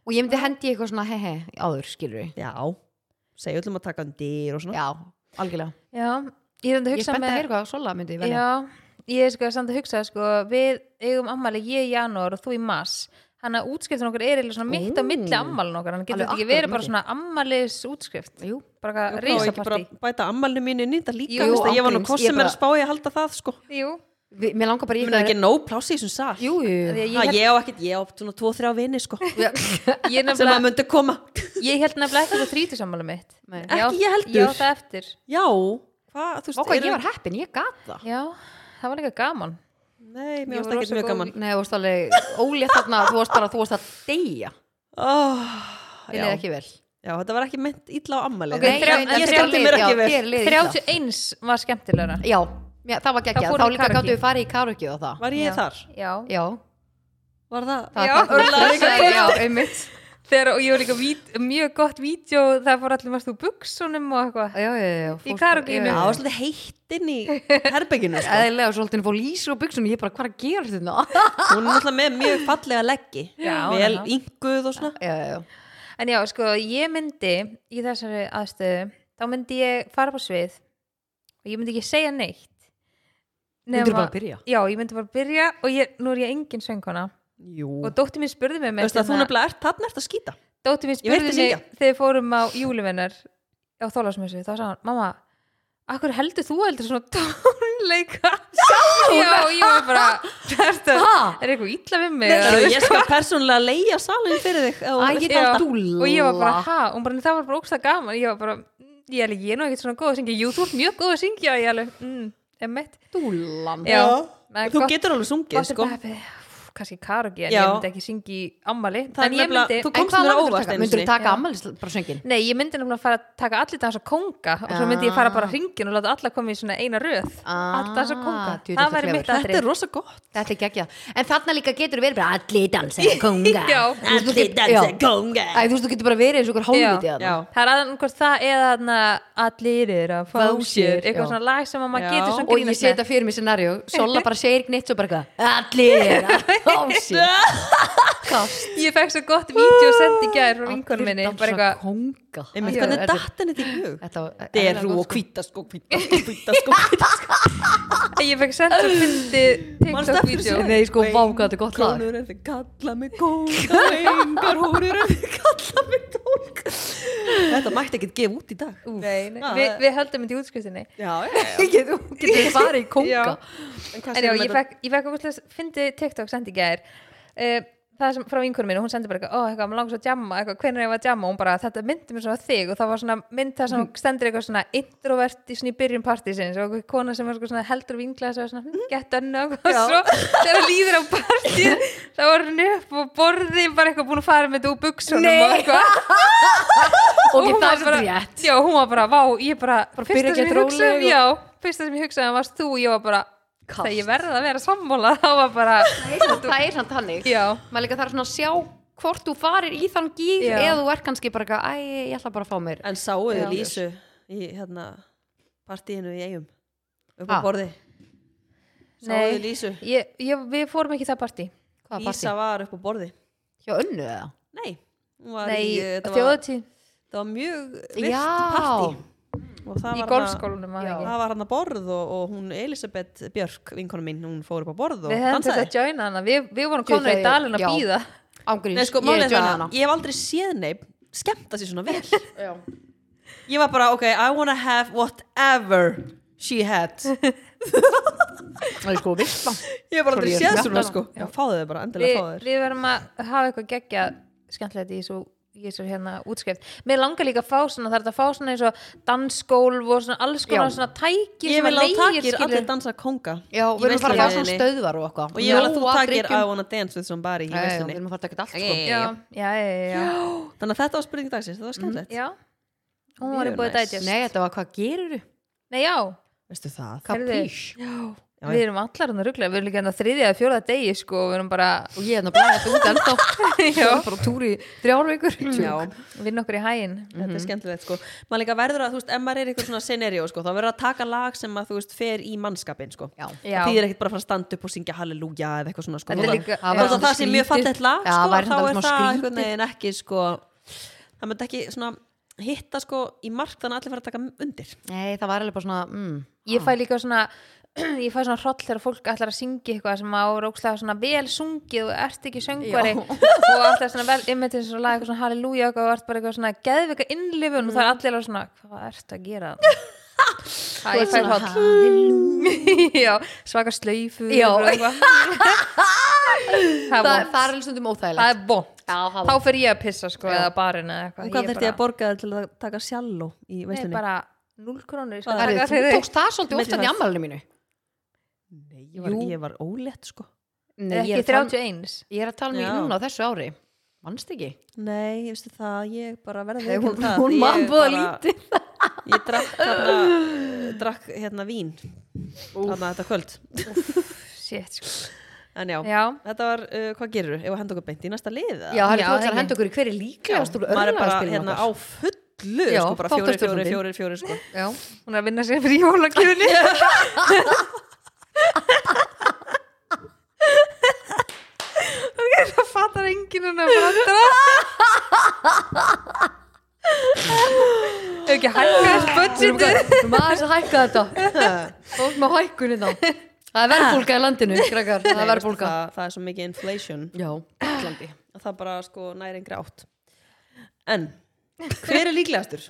Speaker 2: og ég myndi hendi í eitthvað svona he he áður, skilur við
Speaker 1: já Segja öllum að taka undir og svona
Speaker 2: já, algjörlega,
Speaker 3: Já, ég er samt
Speaker 2: ég
Speaker 3: að
Speaker 2: er
Speaker 3: hugsa
Speaker 2: spennt að
Speaker 3: með
Speaker 2: heyra hvað svola myndi ég velja
Speaker 3: Já, ég er sko samt að hugsa sko, við eigum ammali ég í janúar og þú í mars hann að útskriftun okkar er eða svona mitt á
Speaker 2: Ó.
Speaker 3: milli ammali okkar hann getur
Speaker 2: Alveg
Speaker 3: þetta ekki
Speaker 2: akkurat
Speaker 3: verið bara
Speaker 2: milli.
Speaker 3: svona ammalis útskrift
Speaker 2: jú,
Speaker 3: bara
Speaker 1: Já,
Speaker 3: eitthvað
Speaker 1: hvað, á ég ekki bara
Speaker 3: risapartí
Speaker 1: að bæta ammælinu mínu inn í þetta líka
Speaker 2: Jú,
Speaker 1: Jú, ég var nú
Speaker 2: ángríns,
Speaker 1: hvort
Speaker 2: ég
Speaker 1: sem er
Speaker 2: bara-
Speaker 1: að spá ég að halda það sko
Speaker 3: Jú,
Speaker 2: Vi, mér langar bara í
Speaker 1: Ég myndi ekki nóg pláss í þessum sal
Speaker 2: jú, jú,
Speaker 3: af því
Speaker 2: jú.
Speaker 3: að
Speaker 1: Ha,
Speaker 3: ég,
Speaker 1: Ég á ekkert, ég á svona 2-3 vini sko
Speaker 3: held, ég,
Speaker 1: sem að
Speaker 3: nefnilega,
Speaker 1: myndi koma
Speaker 3: ég held nefnilega ekki það þrítisammali mitt
Speaker 2: Nei.
Speaker 1: Ekki
Speaker 3: Já,
Speaker 1: ég heldur.
Speaker 3: Já, það eftir
Speaker 1: Já, hvað, þú veist
Speaker 2: Vá, hvað
Speaker 1: eru-
Speaker 2: ég var heppin, ég gat það
Speaker 3: Já, það var líka gaman
Speaker 1: Nei,
Speaker 3: Ég
Speaker 1: mér varst
Speaker 3: var
Speaker 1: ekkert
Speaker 3: rosa
Speaker 1: mjög
Speaker 3: góð
Speaker 1: gaman
Speaker 2: Nei, þú varst alveg ólétt þarna, þú varst bara, þú varst að deyja
Speaker 1: oh,
Speaker 2: Ég
Speaker 1: já.
Speaker 2: leið ekki vel
Speaker 1: já, þetta var ekki mynd illa á ammali
Speaker 3: Ok, þrjá-
Speaker 1: ég,
Speaker 3: en
Speaker 1: ég
Speaker 3: þrjá
Speaker 1: skemmti
Speaker 3: lið,
Speaker 1: mér ekki vel
Speaker 2: þér leið illa.
Speaker 3: 31 var skemmtilegra
Speaker 2: Já, já, það var
Speaker 3: Þá
Speaker 2: geggjað, þá
Speaker 3: fórum við
Speaker 2: líka
Speaker 3: karaoke.
Speaker 2: gáttu við farið í karaoke og það
Speaker 1: Var ég
Speaker 3: Já.
Speaker 1: þar?
Speaker 3: Já,
Speaker 2: Já,
Speaker 1: Var það?
Speaker 2: það
Speaker 3: Já,
Speaker 2: var
Speaker 3: örugglega
Speaker 2: það
Speaker 3: líka
Speaker 2: Já,
Speaker 3: gott.
Speaker 2: einmitt
Speaker 3: Þegar, og ég var líka vít, mjög gott vídeo það fór allir margt úr buksunum og eitthvað
Speaker 2: Já, já, já, já fórst-
Speaker 1: Já,
Speaker 3: karaokeinu.
Speaker 2: já,
Speaker 1: það var
Speaker 2: já.
Speaker 1: svolítið heitt inn í herbygginu sko.
Speaker 2: Eðlilega, svolítið fór lísur á buksunum, ég bara, hvað er að gera þetta?
Speaker 1: Hún er náttúrulega með mjög fallega leggi
Speaker 3: Já,
Speaker 1: Vel
Speaker 3: já.
Speaker 1: ynguð og svona
Speaker 2: Já, já, já,
Speaker 3: En já, sko, ég myndi í þessari aðstöðu, þá myndi ég fara upp á svið og ég myndi ekki segja neitt.
Speaker 2: myndur bara að byrja
Speaker 3: Já, ég myndi bara byrja og ég, nú er ég engin söngkona.
Speaker 1: Jú
Speaker 3: Og dóttir mín spurði mig
Speaker 1: Þú
Speaker 3: hérna- með
Speaker 1: veist að þú nefnilega ert, þarna ert að skýta
Speaker 3: Dóttir mín
Speaker 1: Ég veit
Speaker 3: spurði
Speaker 1: þig
Speaker 3: mig
Speaker 1: syngja.
Speaker 3: þegar við fórum á júlumennar á Þólasmessu, þá sagði hann, mamma, akkur heldur þú heldur svona tónleika? Sjálf! Já, ég var bara, þetta
Speaker 2: Ha?
Speaker 3: er eitthvað illa við mig.
Speaker 1: Þegar
Speaker 3: eða-
Speaker 1: ég skal persónulega leigja salin fyrir þig ef þú
Speaker 2: Æ,
Speaker 1: vilt
Speaker 2: ég
Speaker 1: halda.
Speaker 2: þá
Speaker 3: og ég var bara,
Speaker 2: dúlla
Speaker 3: ha, og hún bara, það var bara ógstað gaman ég var bara, mm, ég er ég er nú ekkert svona góð að syngja jú, þú ert mjög góð að syngja ég alveg, mm, emmitt
Speaker 2: Dúllan
Speaker 3: Já.
Speaker 1: Já.
Speaker 3: Nei,
Speaker 1: Þú
Speaker 3: gott-
Speaker 1: getur alveg sungið sko
Speaker 3: kannski karogi, en
Speaker 1: Já.
Speaker 3: ég myndi ekki syngja í ammali
Speaker 1: Það er
Speaker 3: en ég
Speaker 1: nefnilega-
Speaker 3: myndi,
Speaker 1: þú
Speaker 2: En
Speaker 1: komst
Speaker 2: hvað
Speaker 1: mér á
Speaker 2: myndur
Speaker 1: óvart
Speaker 2: taka?
Speaker 1: einu
Speaker 2: Myndur
Speaker 1: sinni.
Speaker 2: taka ammælis bara söngin?
Speaker 3: nei, ég myndi nefnilega fara að taka allir dansa konga og svo myndi ég fara bara hringin og láta alla koma í svona eina röð
Speaker 2: Ah,
Speaker 3: allir dansa konga,
Speaker 2: djú, þetta er
Speaker 3: það væri mitt
Speaker 2: clever.
Speaker 1: Þetta er
Speaker 3: aðrið
Speaker 1: rosa gott
Speaker 2: Þetta er geggjað. En þarna líka getur verið bara allir dansa konga.
Speaker 3: Já.
Speaker 2: Þú veist, þú get- já.
Speaker 1: konga
Speaker 2: Æ, þú veist, þú getur bara verið eins og okkur hálfviti að það.
Speaker 1: Já,
Speaker 3: það er aðeins það eða þarna, allir er að fá
Speaker 2: Fá sér,
Speaker 3: sér
Speaker 2: já.
Speaker 3: eitthvað svona lag sem að maður
Speaker 1: Já.
Speaker 3: getur svona
Speaker 2: Og ég
Speaker 3: grínast með.
Speaker 2: setja fyrir mig scenarjó, Sola bara segir gnitt og bara eitthvað, allir, allir, kast.
Speaker 3: Ég fekk svo gott vídeo sent í gær frá vinkunum minni bara eitthvað,
Speaker 2: konga.
Speaker 1: Einmitt,
Speaker 2: Já,
Speaker 1: hvernig
Speaker 2: þetta-
Speaker 1: datt henni til í hug?
Speaker 2: Þetta var- sko.
Speaker 1: Deru og hvítaskó,
Speaker 3: sko,
Speaker 1: hvítaskó, hvítaskó, hvítaskó
Speaker 3: ég fekk sent svo fyndi TikTok-vídeó
Speaker 2: þessu? Nei, sko, vá, hvað þetta er gott lag.
Speaker 1: Konur er þið kalla mig kóka, engar húnur er þið kalla mig kóka Þetta mætti ekkert gefa út í dag
Speaker 3: Nei, nei,
Speaker 1: Ah,
Speaker 3: við,
Speaker 1: það-
Speaker 3: við höldum þetta í útskriftinni
Speaker 1: Já, já, já
Speaker 2: Getur getur farið í konga.
Speaker 3: Já.
Speaker 1: hvað
Speaker 3: En já,
Speaker 1: segir
Speaker 3: ég
Speaker 1: maður
Speaker 3: fekk, ég fekk okkur fyndi TikTok sent í gær uh, það sem frá vinkunum minni, hún sendi bara eitthvað, ó, eitthvað, maður langar svo að jamma, eitthvað, hvernig er ég var að jamma og hún bara, þetta myndi mér svona þig og það var svona mynd það sem hún stendur eitthvað svona introvert í svona í byrjun partísins og eitthvað kona sem var sko svona heldur vingla sem var svona, hm, gett önnu og eitthvað. svo þegar líður á partíð þá var hún upp og borði bara eitthvað búin að fara með þetta úr buksunum
Speaker 2: Nei.
Speaker 3: og eitthvað
Speaker 2: Og það
Speaker 3: hún var
Speaker 2: er
Speaker 3: bara-
Speaker 2: rétt.
Speaker 3: já, hún var bara, vá, ég bara,
Speaker 2: byrja
Speaker 3: fyrsta
Speaker 2: að
Speaker 3: sem ég
Speaker 2: geta róleg
Speaker 3: hugsaði um-
Speaker 2: og-
Speaker 3: já, fyrsta sem ég hugsaði um varst þú, ég var bara
Speaker 2: Kast.
Speaker 3: þegar ég verði að vera sammála þá var bara,
Speaker 2: Það er samt- það er samt hannig.
Speaker 3: já
Speaker 2: Maður líka þarf svona að sjá hvort þú farir í þann gír
Speaker 3: Já.
Speaker 2: eða þú er kannski bara eitthvað, æ, ég ætla bara að fá mér.
Speaker 1: En sáu
Speaker 3: Já.
Speaker 1: þið Lísu í hérna partíinu í eigum upp á
Speaker 2: Ha?
Speaker 1: borði Sáu
Speaker 3: Nei.
Speaker 1: þið Lísu
Speaker 3: ég, ég, við fórum ekki í það partí
Speaker 2: Hvaða partí?
Speaker 1: Lísa var upp á borði
Speaker 2: Hjá önnu eða?
Speaker 1: Nei, hún var í,
Speaker 3: nei,
Speaker 1: eh, þetta var-
Speaker 3: þjóðatí
Speaker 1: þetta var mjög vilt
Speaker 2: Já.
Speaker 1: partí og það var
Speaker 3: í
Speaker 1: hana-
Speaker 3: golfskólanum að
Speaker 2: Já.
Speaker 3: ekki
Speaker 1: það var hann að borð og, og hún Elisabeth Björk, vinkonu mín, hún fór upp á borð og
Speaker 3: Við hefum þess
Speaker 1: dansaði
Speaker 3: að joina hana, við, við vorum
Speaker 2: Jú,
Speaker 3: komin
Speaker 2: það
Speaker 3: í
Speaker 2: er-
Speaker 3: dalinn að
Speaker 2: já.
Speaker 3: býða
Speaker 2: ángurins,
Speaker 1: Nei, sko, málið er
Speaker 2: joina
Speaker 1: það, ég hef aldrei séð neip skemmta sér svona vel
Speaker 2: Já.
Speaker 1: ég var bara, ok, I wanna have whatever she had
Speaker 2: það er sko vissla
Speaker 1: ég hef bara aldrei
Speaker 2: Sorry, ég
Speaker 1: séð
Speaker 2: skemmta
Speaker 1: svona
Speaker 2: hana.
Speaker 1: sko
Speaker 2: Já.
Speaker 1: já, fáðu þau bara, endilega
Speaker 3: við,
Speaker 1: fáðu þau
Speaker 3: við verum að hafa eitthvað geggja skemmtilegt í þessu í þessu hérna útskrift. Mér langar líka að fá svona, það er þetta að fá svona eins og dansgólf og svona alls konar
Speaker 2: Já.
Speaker 3: svona tæki
Speaker 1: ég
Speaker 3: sem
Speaker 1: vil að
Speaker 3: að
Speaker 1: þú
Speaker 3: leigir,
Speaker 1: takir
Speaker 3: skilur.
Speaker 1: allir dansa konga
Speaker 2: já,
Speaker 1: Í
Speaker 2: við erum að fara að fá
Speaker 1: veisluninni.
Speaker 2: svona stöðvar og eitthvað
Speaker 1: og ég vil að þú
Speaker 2: Nóg
Speaker 1: takir I
Speaker 2: drykkjum.
Speaker 1: wanna dance with somebody í
Speaker 2: Já, já, við
Speaker 1: vestinni
Speaker 2: erum að fara að taka
Speaker 1: Ok.
Speaker 2: allt sko
Speaker 3: Já, já, já, já, já.
Speaker 1: þannig að þetta var spurning dagsins, þetta var skemmtilegt
Speaker 3: já. Hún var í
Speaker 1: Mjög
Speaker 3: búið
Speaker 1: næs.
Speaker 3: dætjast.
Speaker 2: nei, þetta var hvað gerir þú?
Speaker 3: Nei, já.
Speaker 1: veistu það,
Speaker 3: Heyrðu.
Speaker 2: kapís
Speaker 1: Já,
Speaker 3: Við erum allar hann að ruggla, við erum líka hann að þriðja eða fjóraða degi sko, og við erum bara,
Speaker 2: og ég er hérna að blæða þetta út ennþá ég var bara á túr í þrjár vikur
Speaker 1: já,
Speaker 3: við erum okkur í hæginn.
Speaker 1: þetta er
Speaker 2: Mhm.
Speaker 1: skemmtilegt sko maður líka verður að, þú veist, ef maður er í eitthvað svona scenario sko, þá verður að taka lag sem að, þú veist, fer í mannskapin sko
Speaker 2: Já.
Speaker 3: Já.
Speaker 1: það þýðir ekkert bara að fara að standa upp og syngja halleluja eða eitthvað svona sko
Speaker 3: Þetta er líka-
Speaker 1: það, það,
Speaker 2: var
Speaker 1: það sé mjög
Speaker 2: skrítið.
Speaker 1: fallegt lag
Speaker 2: Já,
Speaker 1: sko,
Speaker 2: væri
Speaker 1: þá
Speaker 2: þetta
Speaker 1: er
Speaker 2: smá
Speaker 1: það
Speaker 2: skrítið.
Speaker 1: einhvern veginn ekki sko það myndi ekki svona hitta sko í mark þannig að allir fara að taka undir
Speaker 2: nei, það var alveg bara svona mm,
Speaker 3: Ég fæ líka svona ég fæ svona hroll þegar fólk ætlar að syngja eitthvað sem á rókslega svona vel sungið og ert ekki söngvari
Speaker 2: Já.
Speaker 3: og alltaf svona vel immitið eins og lag eitthvað svona halleluja og ert bara eitthvað svona geðvika innlifun og það
Speaker 2: Mm.
Speaker 3: er allir alveg svona hvað ert að gera það ég fæ hroll Já, svaka slöyfu
Speaker 2: Já.
Speaker 3: og eitthvað. það
Speaker 2: það, það
Speaker 3: er vont
Speaker 2: er alveg stundum
Speaker 3: það
Speaker 2: óþægilegt
Speaker 3: er vont
Speaker 2: Já, það er
Speaker 3: þá fer ég að pissa sko
Speaker 2: Já.
Speaker 3: eða barinn eða
Speaker 1: og
Speaker 3: eitthvað
Speaker 1: Um hvað
Speaker 3: Ég
Speaker 1: þurfti ég að borga þér til að taka sjalló í
Speaker 3: Nei,
Speaker 1: veistunni?
Speaker 3: bara 0 krónur ég skal
Speaker 1: Hvað er
Speaker 3: taka
Speaker 2: Þú
Speaker 3: fyrir þig.
Speaker 2: tókst það svolítið
Speaker 1: Milli
Speaker 2: oftan í
Speaker 1: fæs.
Speaker 2: ammælinu mínu
Speaker 1: Nei, ég, var,
Speaker 2: Jú.
Speaker 1: ég var ólétt sko
Speaker 2: Nei, ég, er
Speaker 3: ekki
Speaker 2: að tala,
Speaker 3: 31
Speaker 2: ég er að tala um í
Speaker 1: Já.
Speaker 2: núna á þessu ári Manst ekki?
Speaker 1: Nei, ég veistu það, ég bara verði
Speaker 2: Nei, hún-
Speaker 1: viðurkenna það,
Speaker 2: hún
Speaker 1: ég
Speaker 2: man voða
Speaker 1: bara- Ég drakk hérna, drakk hérna vín þarna þetta kvöld
Speaker 3: Shit, sko.
Speaker 1: En já,
Speaker 3: Já.
Speaker 1: þetta var, uh, hvað gerirðu? Ef að henda okkur beint í næsta lið? eða?
Speaker 2: Já, það er
Speaker 3: Já,
Speaker 2: þú ætlar
Speaker 3: ekki.
Speaker 2: að henda okkur í hverju líklegast úr
Speaker 1: maður er bara
Speaker 2: örlaðaspilinu
Speaker 1: hérna á fullu sko, bara
Speaker 2: Já,
Speaker 1: fjórir, fjórir,
Speaker 2: þáttastjórnandi.
Speaker 1: fjórir, fjórir sko.
Speaker 2: Já,
Speaker 3: Hún er að vinna sér fyrir jólagjöfunni Ok, það fattar enginn hérna, hennar brandara Hefur ekki hækkað þess budgetið
Speaker 2: Við maður aðeins að hækka þetta Fólk með hækkunni þá Það er verðbólga í landinu, krakkar Það
Speaker 1: Nei, veistu
Speaker 2: er verðbólga
Speaker 1: það, það er svo mikið inflation
Speaker 2: Já, Íslandi
Speaker 1: að það bara sko næri engri átt en hver er líklegastur?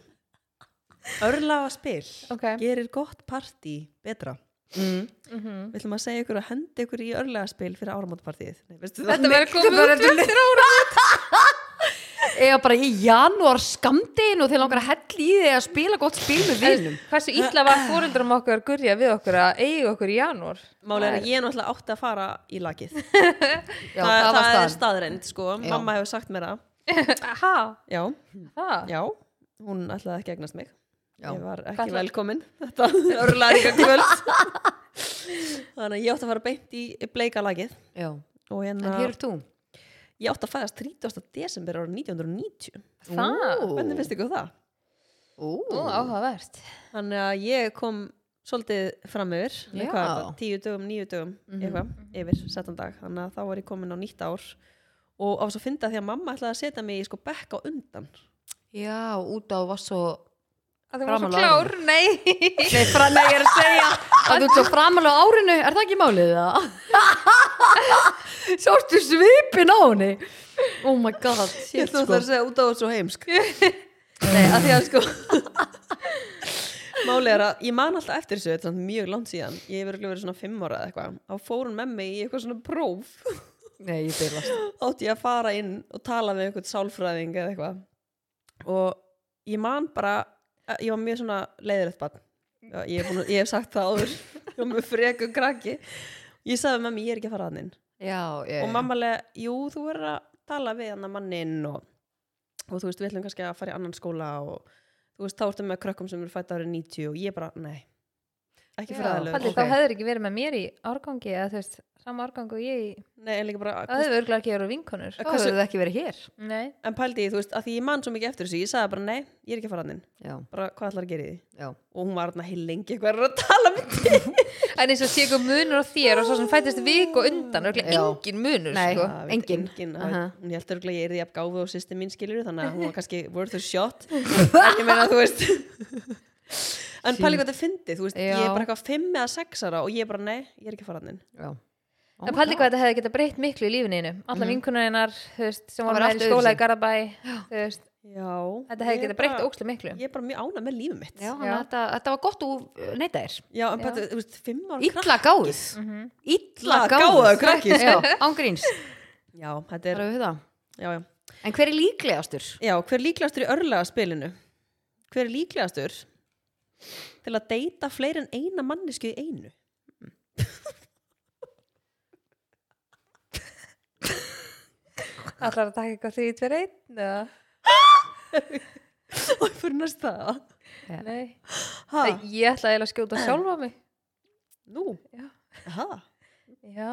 Speaker 1: örlaga spil
Speaker 3: Ok.
Speaker 1: gerir gott partí betra
Speaker 2: mm.
Speaker 1: við ætlum að segja ykkur að henda ykkur í örlaga spil fyrir áramótpartíð Nei, veistu það?
Speaker 3: Þetta verður komið bara eftir ára
Speaker 2: Eða bara í janúar skamdeginu og þeir langar að hella í þig að spila gott spil með vinum
Speaker 3: Hversu illa var fóreldrum okkar gurja við okkur að eiga okkur í janúar
Speaker 1: Máli er að ég náttúrulega átti að fara í lakið
Speaker 2: Já, það, var
Speaker 1: er
Speaker 2: staðan
Speaker 1: staðreind sko,
Speaker 2: Já.
Speaker 1: mamma hefur sagt mér það
Speaker 3: Aha,
Speaker 1: já,
Speaker 3: það
Speaker 1: já, hún ætlaði ekki að egnast mig
Speaker 2: Já.
Speaker 1: ég var ekki
Speaker 3: Hvað ætlaði-
Speaker 1: velkomin þetta örlaði ekki kvöld þannig að ég átti að fara beint í bleika lagið
Speaker 2: Já,
Speaker 1: og
Speaker 2: en
Speaker 1: hérna
Speaker 2: hér er þú
Speaker 1: ég átti að fæðast 30. desember árið 1990
Speaker 3: Það,
Speaker 2: Ó.
Speaker 1: hvernig finnst ykkur það?
Speaker 2: Ó,
Speaker 3: Ó, áhugavert
Speaker 1: þannig að ég kom svolítið fram yfir
Speaker 2: Já.
Speaker 1: hvað, tíu dögum, níu dögum eitthvað, yfir, settan dag þannig að þá var ég komin á nýtt ár og á svo að finna því að mamma ætlaði að setja mig í sko bekk á undan
Speaker 2: Já, út á var svo
Speaker 3: Að það var svo
Speaker 2: Framan á
Speaker 3: klár, nei
Speaker 2: Nei, fra, nei, ég er að segja að þú ert svo framalega á árinu, er það ekki málið það? Sjóstu svipin á henni Oh my god, shit
Speaker 1: ætlaði
Speaker 2: sko
Speaker 1: að segja út á þessu heimsk Nei, að því að sko Máli er að ég man alltaf eftir þessu þetta er samt mjög langt síðan, ég hef örugglega verið svona fimm ára eða eitthvað, þá fór hún með mig í eitthvað svona próf,
Speaker 2: Nei, ég byrðast
Speaker 1: átti ég að fara inn og tala með einhvern sálfræðing eða eitthvað og ég man bara ég var mjög svona leiðilegt barn Já, ég, hef búin, að- ég hef sagt það áður ég var mjög freku krakki ég sagði með mig, ég er ekki að fara að inn
Speaker 2: Já, ég
Speaker 3: Eh.
Speaker 1: og mamma lega, jú, þú verður að tala við hann að mannin og, og þú veist, við ætlum kannski að fara í annan skóla og þú veist, þá ertu með krökkum sem eru fætt árið 90 og ég bara, nei ekki
Speaker 3: Já,
Speaker 1: fyrir aðlöf
Speaker 3: Palli,
Speaker 2: Ok.
Speaker 3: þá hefur ekki verið með mér í árgangi eða þú veist, sama árgang og ég í
Speaker 1: nei, en líka bara,
Speaker 3: það hefur örgulega ekki verið vinkonur
Speaker 2: Hvað
Speaker 1: hversu-
Speaker 2: hefur það ekki verið hér?
Speaker 3: Nei,
Speaker 1: en pældi ég, þú veist, að því ég man svo mikið eftir þessu ég sagði bara, nei, ég er ekki að fara hann inn
Speaker 2: Já,
Speaker 1: bara, hvað ætlar að gera í því?
Speaker 2: já
Speaker 1: og hún var hérna heil lengi eitthvað er að tala með því
Speaker 3: en eins og sé eitthvað munur á þér og svo sem fættist vik og undan örgulega
Speaker 2: Já.
Speaker 3: engin munur
Speaker 2: Nei.
Speaker 3: sko.
Speaker 2: Já.
Speaker 1: Það veit
Speaker 2: Engin.
Speaker 1: engin
Speaker 2: Aha.
Speaker 1: uh hún heldur örugglega að ég er því að gáfu og sýsti mín skilur þannig að hún var kannski worth a shot en ég meina þú veist en pæli hvað þetta fyndi, þú veist, ég
Speaker 2: Já.
Speaker 1: er bara eitthvað fimm eða sex ára og ég er bara, nei, ég er ekki að fara hann
Speaker 2: Já. Oh
Speaker 3: En
Speaker 2: my
Speaker 3: paldi
Speaker 2: God.
Speaker 3: hvað þetta hefði geta breytt miklu í lífinu einu. Alla mm. vinkunarinar, þú veist, sem
Speaker 2: Það
Speaker 3: voru
Speaker 2: var
Speaker 3: með
Speaker 2: allt
Speaker 3: í skóla
Speaker 2: öðruvísi.
Speaker 3: í Garabæ, þú veist,
Speaker 1: Já
Speaker 3: þetta hefði
Speaker 1: Ég er
Speaker 3: geta breytt
Speaker 1: bara-
Speaker 3: ókslu miklu.
Speaker 1: Ég er bara mjög ánað með lífið mitt Já,
Speaker 2: Já, þannig að þetta, þetta var gott uh, úr neytaðir
Speaker 1: en bara, þú veist, fimm ára
Speaker 2: Ítla gáð
Speaker 3: Mhm.
Speaker 2: Ítla
Speaker 1: Illa gáfuð krakki, sko.
Speaker 2: Ángríns
Speaker 1: krakk- Já, þetta er, já, já
Speaker 2: En hver er líklegastur?
Speaker 1: Já, hver er líklegastur í örlagaspilinu? Hver er líklegastur til að deyta fleiri en eina mannesku í einu?
Speaker 3: Allar að taka eitthvað því tver einn, eða?
Speaker 1: Og fyrir næsta
Speaker 3: Nei.
Speaker 1: Ha,
Speaker 3: Æ, Ég ætla eiginlega að skjóta sjálfa mig.
Speaker 1: nú?
Speaker 3: Já.
Speaker 1: Ha,
Speaker 3: Já.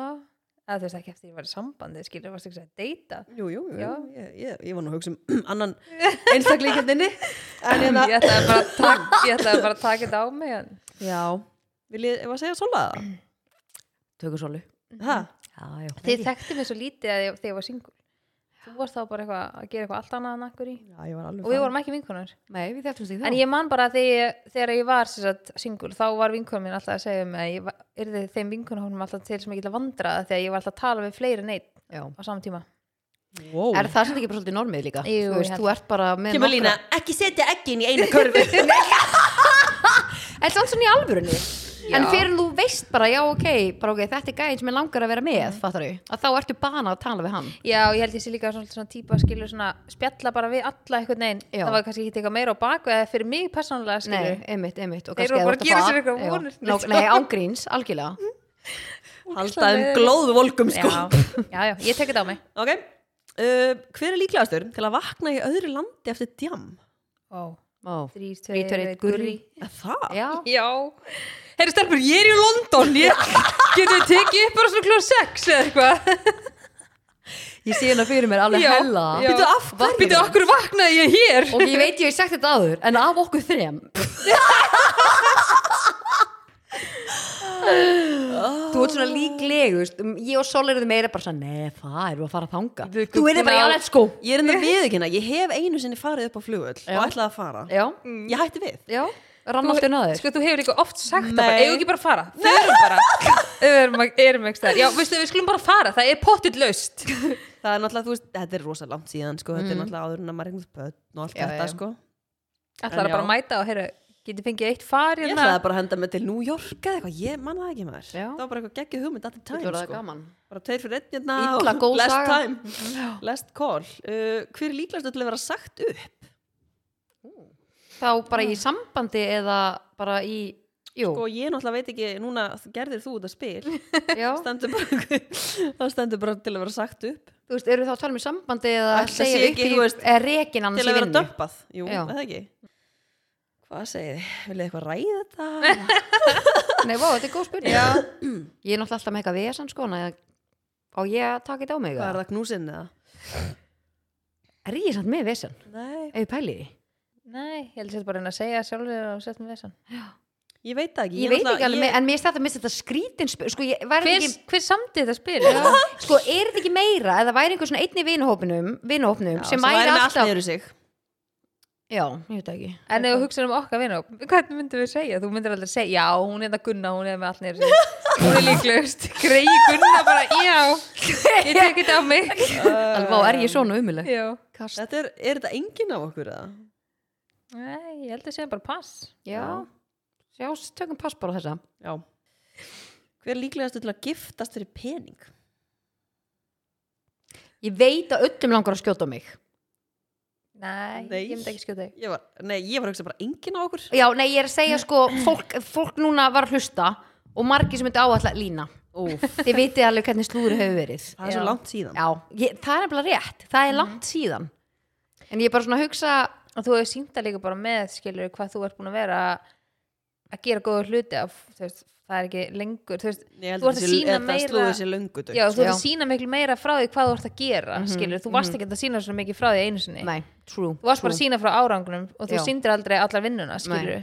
Speaker 3: Eða þú veist ekki eftir ég var í sambandi, skilur, varst ekki að deyta.
Speaker 1: jú, jú, jú.
Speaker 3: Já.
Speaker 1: Ég, ég, ég var nú að hugsa um annan einstakleikenninni. En
Speaker 3: Ég
Speaker 1: hérna,
Speaker 3: ætlaði bara að taka, ég ætlaði bara að taka þetta á mig, en
Speaker 1: já, vil ég, ef að segja svola það?
Speaker 2: Tökur sólu
Speaker 1: Ha,
Speaker 2: Já, já
Speaker 3: þið þekktu mig svo lítið að ég, þegar ég var singul. Þú varst þá bara eitthvað að gera eitthvað allt annað en akkur í.
Speaker 1: já, ég var alveg
Speaker 3: Og við vorum ekki vinkunar.
Speaker 2: Nei, við þekktumst ekki þá
Speaker 3: En ég man bara þegar ég, þegar ég var sem sagt, singul, þá var vinkunum minn alltaf að segja um að ég var- yrði þeim vinkunum alltaf til sem ég gila vandraða þegar ég var alltaf að tala við fleiri neitt
Speaker 2: Já.
Speaker 3: á sama tíma.
Speaker 1: Wow.
Speaker 2: Er það sem ekki bara svolítið normið líka?
Speaker 3: Jú,
Speaker 2: þú veist,
Speaker 3: ég held
Speaker 2: þú ert bara með
Speaker 1: Kemur lína, ekki setja ekkin í eina körfu.
Speaker 2: Er það svona í alvörunni? En fyrir þú veist bara, já, ok, bara, ok, þetta er gæðin sem ég langar að vera með, fattar þau? Að þá ertu bana að tala við hann.
Speaker 3: Já, ég held ég sé líka svona, svona típa skilur svona spjalla bara við alla einhvern veginn.
Speaker 2: Já.
Speaker 3: Það var kannski ekki eitthvað meira á baku eða fyrir mig persónulega skilur.
Speaker 2: Nei, einmitt, einmitt. og
Speaker 3: Þeir
Speaker 2: kannski
Speaker 3: eru bara
Speaker 2: ef þú
Speaker 3: að gera
Speaker 2: ert
Speaker 3: sér eitthvað
Speaker 2: Já.
Speaker 3: vonir. sko. Mm.
Speaker 2: Nó- Nei, ángríns, algjörlega.
Speaker 1: Halda um glóðvolkum, sko.
Speaker 3: Já, já, já, ég tek þetta á mig.
Speaker 1: Ok, uh, hver er líklegastur til að vakna í öðru landi eftir djam?
Speaker 3: Ó,
Speaker 2: Ó,
Speaker 3: þrýr,
Speaker 2: Þrír, tveir, einn, gurrí.
Speaker 1: Er Það?
Speaker 2: Já,
Speaker 3: Já. Herri stelpur, ég er í London, ég getur við tekið upp bara svona klóð 6 eða eitthvað.
Speaker 2: ég sé hérna fyrir mér alveg
Speaker 3: Já,
Speaker 2: hella.
Speaker 3: já.
Speaker 1: Býtu af hverju?
Speaker 3: Býtu, okkur vaknaði ég hér?
Speaker 2: Og ég veit ég hef sagt þetta áður, en af okkur þrem. Þú ert svona
Speaker 3: Ah.
Speaker 2: líklegust, um, ég og Sol eruðu meira bara svona, nei, það erum við að fara að þanga.
Speaker 3: Við
Speaker 2: Þú eruðu bara,
Speaker 3: guggum
Speaker 2: já,
Speaker 3: á-
Speaker 2: let's go.
Speaker 1: Ég er enda viðkynna, ég hef einu sinni farið upp á flugvöll og ætlaði að fara.
Speaker 2: Já,
Speaker 1: Ég hætti við.
Speaker 2: já, rann alltaf náður.
Speaker 3: Sko, Mm. þú hefur líka oft sagt það
Speaker 1: Nei.
Speaker 3: bara, eigum við ekki bara að fara? Förum bara. Við erum, erum ekki stær. Já, veistu, við skulum bara fara, það er pottill laust.
Speaker 1: Það er náttúrulega, þú veist, þetta er rosa langt síðan, sko, þetta er náttúrulega áður en að maður eignast börn og allt
Speaker 2: Mm. Já,
Speaker 1: þetta,
Speaker 2: já.
Speaker 1: sko.
Speaker 3: Ætlar
Speaker 1: En
Speaker 3: að bara
Speaker 1: já.
Speaker 3: mæta og, heyrðu, getur fengið eitt far
Speaker 1: Ég
Speaker 3: hérna?
Speaker 1: ætlaði bara að henda mig til New York eða eitthvað, ég manna það ekki maður.
Speaker 2: Já.
Speaker 1: Það var bara eitthvað geggjuð hugmynd at the time,
Speaker 2: Þetta var
Speaker 1: sko.
Speaker 2: gaman.
Speaker 1: Bara tveir fyrir einn hérna
Speaker 2: Illa góð
Speaker 1: last
Speaker 2: saga.
Speaker 1: time, last call. Uh, hver er líklegastur til að vera sagt upp?
Speaker 2: Þá bara
Speaker 3: Ah.
Speaker 2: í sambandi eða bara í, jú,
Speaker 1: Sko, ég náttúrulega veit ekki, núna gerðir þú þetta spil.
Speaker 3: Sko,
Speaker 2: já.
Speaker 1: stendur bara, það stendur bara til að vera sagt upp
Speaker 2: Þú veist, eru þá að tala um í sambandi eða
Speaker 1: Ætli
Speaker 2: segja
Speaker 1: sé
Speaker 2: upp
Speaker 1: ekki,
Speaker 2: í,
Speaker 1: þú veist,
Speaker 2: eða rekin annars
Speaker 1: til
Speaker 2: í
Speaker 1: að vera
Speaker 2: vinnu?
Speaker 1: dömpað jú,
Speaker 2: Já.
Speaker 1: eða ekki hvað segið þið, viljið þið eitthvað ræða þetta
Speaker 2: Nei, vá, þetta er góð spurning. Ég er náttúrulega alltaf með eitthvað vesan, sko, en á ég að taka þetta á mig?
Speaker 1: hvað
Speaker 2: eða?
Speaker 1: er það knúsinn eða
Speaker 2: Er ég samt með vesan?
Speaker 1: nei,
Speaker 2: Ef ég pæli því?
Speaker 3: Nei, ég held að þetta bara að reyna að segja sjálfur og setja með þessan.
Speaker 1: ég veit það ekki
Speaker 2: Ég veit ekki
Speaker 1: náttúrulega-
Speaker 2: alveg, en mér er þetta að mista þetta skrítin spil, sko, ég væri
Speaker 3: Hver,
Speaker 2: ekki...
Speaker 3: hver samdi þetta spil?
Speaker 2: Sko, er þetta ekki meira eða væri einhver svona einni vinahópinum, vinahópinum
Speaker 1: Já,
Speaker 2: sem
Speaker 1: væri
Speaker 2: væri
Speaker 1: með allt
Speaker 2: alltaf...
Speaker 1: niður í sig
Speaker 2: Já, ég veit það ekki.
Speaker 3: En ef þú hugsaður um okkar vinna, hvernig myndum við segja? Þú myndir aldrei segja, já, hún er þetta Gunna, hún er með allt neyru sig. Hún er líklegust, greiði Gunna bara, já, ég tek þetta á mig.
Speaker 2: Alveg, vá, er ég svona umileg?
Speaker 3: Já.
Speaker 2: Kast.
Speaker 1: þetta er, er þetta enginn af okkur eða
Speaker 3: Nei, ég held að segja bara pass.
Speaker 2: Já. Já, tökum pass bara á þessa.
Speaker 1: já hver er líklegast til að giftast fyrir pening
Speaker 2: Ég veit að öllum langar að skjóta á mig.
Speaker 3: Nei,
Speaker 1: Nei.
Speaker 3: ég myndi ekki skjóta þig.
Speaker 1: ég var, nei, ég var að hugsa bara enginn af okkur
Speaker 2: Já, nei, ég er að segja sko fólk, fólk núna var að hlusta og margir sem myndi áallega lína
Speaker 1: Úf,
Speaker 2: Þið vitið alveg hvernig slúður hefur verið
Speaker 1: það er svo
Speaker 3: Já.
Speaker 1: langt síðan
Speaker 2: Já, ég, það er nefnilega rétt, það er langt síðan En ég er bara svona að hugsa
Speaker 3: Og þú hefur sínt það líka bara með, skilur, hvað þú ert búin að vera að gera góða hluti af, þú veist, það er ekki lengur, þú veist,
Speaker 1: Ég held
Speaker 3: þú ert að
Speaker 1: sé-
Speaker 3: sína
Speaker 1: þetta
Speaker 3: meira,
Speaker 1: slóði sér löngu dautt.
Speaker 3: já, þú ert
Speaker 2: Já.
Speaker 3: að sína miklu meira frá því hvað þú ert að gera, skilur, þú varst ekki að sína svo mikið frá því einu sinni.
Speaker 2: Nei, true
Speaker 3: þú varst bara
Speaker 2: true.
Speaker 3: að sína frá árangunum og þú
Speaker 2: Já.
Speaker 3: síndir aldrei allar vinnuna skilur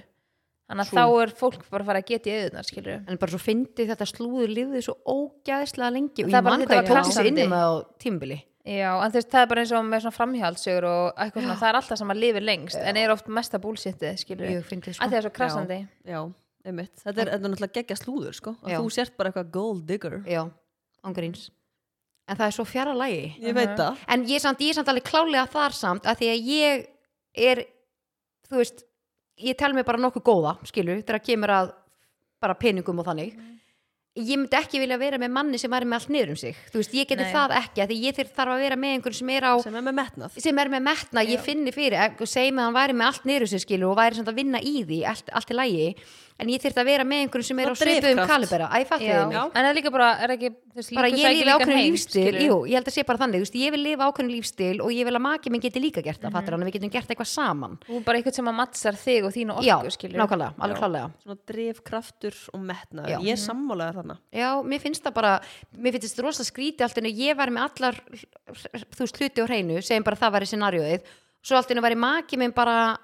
Speaker 3: þannig að þá er fólk bara að fara að geta í auðunar skilur
Speaker 2: En bara svo fyndi þetta slúður lífið svo ógæðslega lengi og
Speaker 3: Það er
Speaker 2: ég
Speaker 3: bara
Speaker 2: mann
Speaker 3: þetta
Speaker 2: hvað ég tók
Speaker 3: var
Speaker 2: þessu
Speaker 3: krassandi.
Speaker 2: innum á tímbili
Speaker 3: Já, en þú veist, það er bara eins og með svona framhjálsugur og eitthvað svona, það er alltaf sem að lifi lengst en er oft mesta búlsitið, skilur
Speaker 2: Mjög fyndið, sko.
Speaker 3: að það er svo krassandi
Speaker 1: já, einmitt þetta er, þetta er náttúrulega geggja slúður sko að
Speaker 2: Já.
Speaker 1: þú sért bara eitthvað gold digger
Speaker 2: Já, ángríns En það er svo fjara lægi
Speaker 1: ég veit það
Speaker 2: En ég er samt, ég er samt alveg klálega þar samt að því að ég er þú veist, ég tel mig bara nokkuð góða skilur, þegar kemur að bara peningum og þannig Ég myndi ekki vilja vera með manni sem væri með allt niður um sig Þú veist, ég geti
Speaker 3: Nei.
Speaker 2: það ekki af því ég þyrf- þarf að vera með einhvern sem er á
Speaker 1: sem er með metnað
Speaker 2: sem er með metna, ég finni fyrir ef- segjum að hann væri með allt niður um sig skilur og væri samt að vinna í því, allt, allt í lægi en ég þyrfti að vera með einhverjum sem er á
Speaker 1: Og
Speaker 2: svipuðum
Speaker 1: drifkraft.
Speaker 2: kalibera, æ, fattu
Speaker 3: Já.
Speaker 2: þið mig
Speaker 3: En það er líka bara, er ekki þú veist,
Speaker 2: bara ég
Speaker 3: líkur sækir
Speaker 2: lifi
Speaker 3: líkan
Speaker 2: ákveðin
Speaker 3: heim,
Speaker 2: lífstil
Speaker 3: skilurðu.
Speaker 2: jú, ég held að sé bara þannig, þú veist, ég vil lifa ákveðin lífstil og ég vil að maki minn geti líka
Speaker 3: Mhm.
Speaker 2: gert það, mm hann, að við getum gert eitthvað saman
Speaker 3: Þú er bara eitthvað sem að mattsar þig og þínu
Speaker 2: já,
Speaker 3: orku, skilur
Speaker 2: nákvæmlega, alveg klálega
Speaker 1: svona drifkraftur og metnað
Speaker 2: Já.
Speaker 1: ég er sammálaðar þarna
Speaker 2: já, mér finnst það bara, mér finnst þetta rosa skríti allt en ég væri með allar þú veist, hluti og hreinu, segjum bara það væri scenarióið, svo allt en væri maki minn bara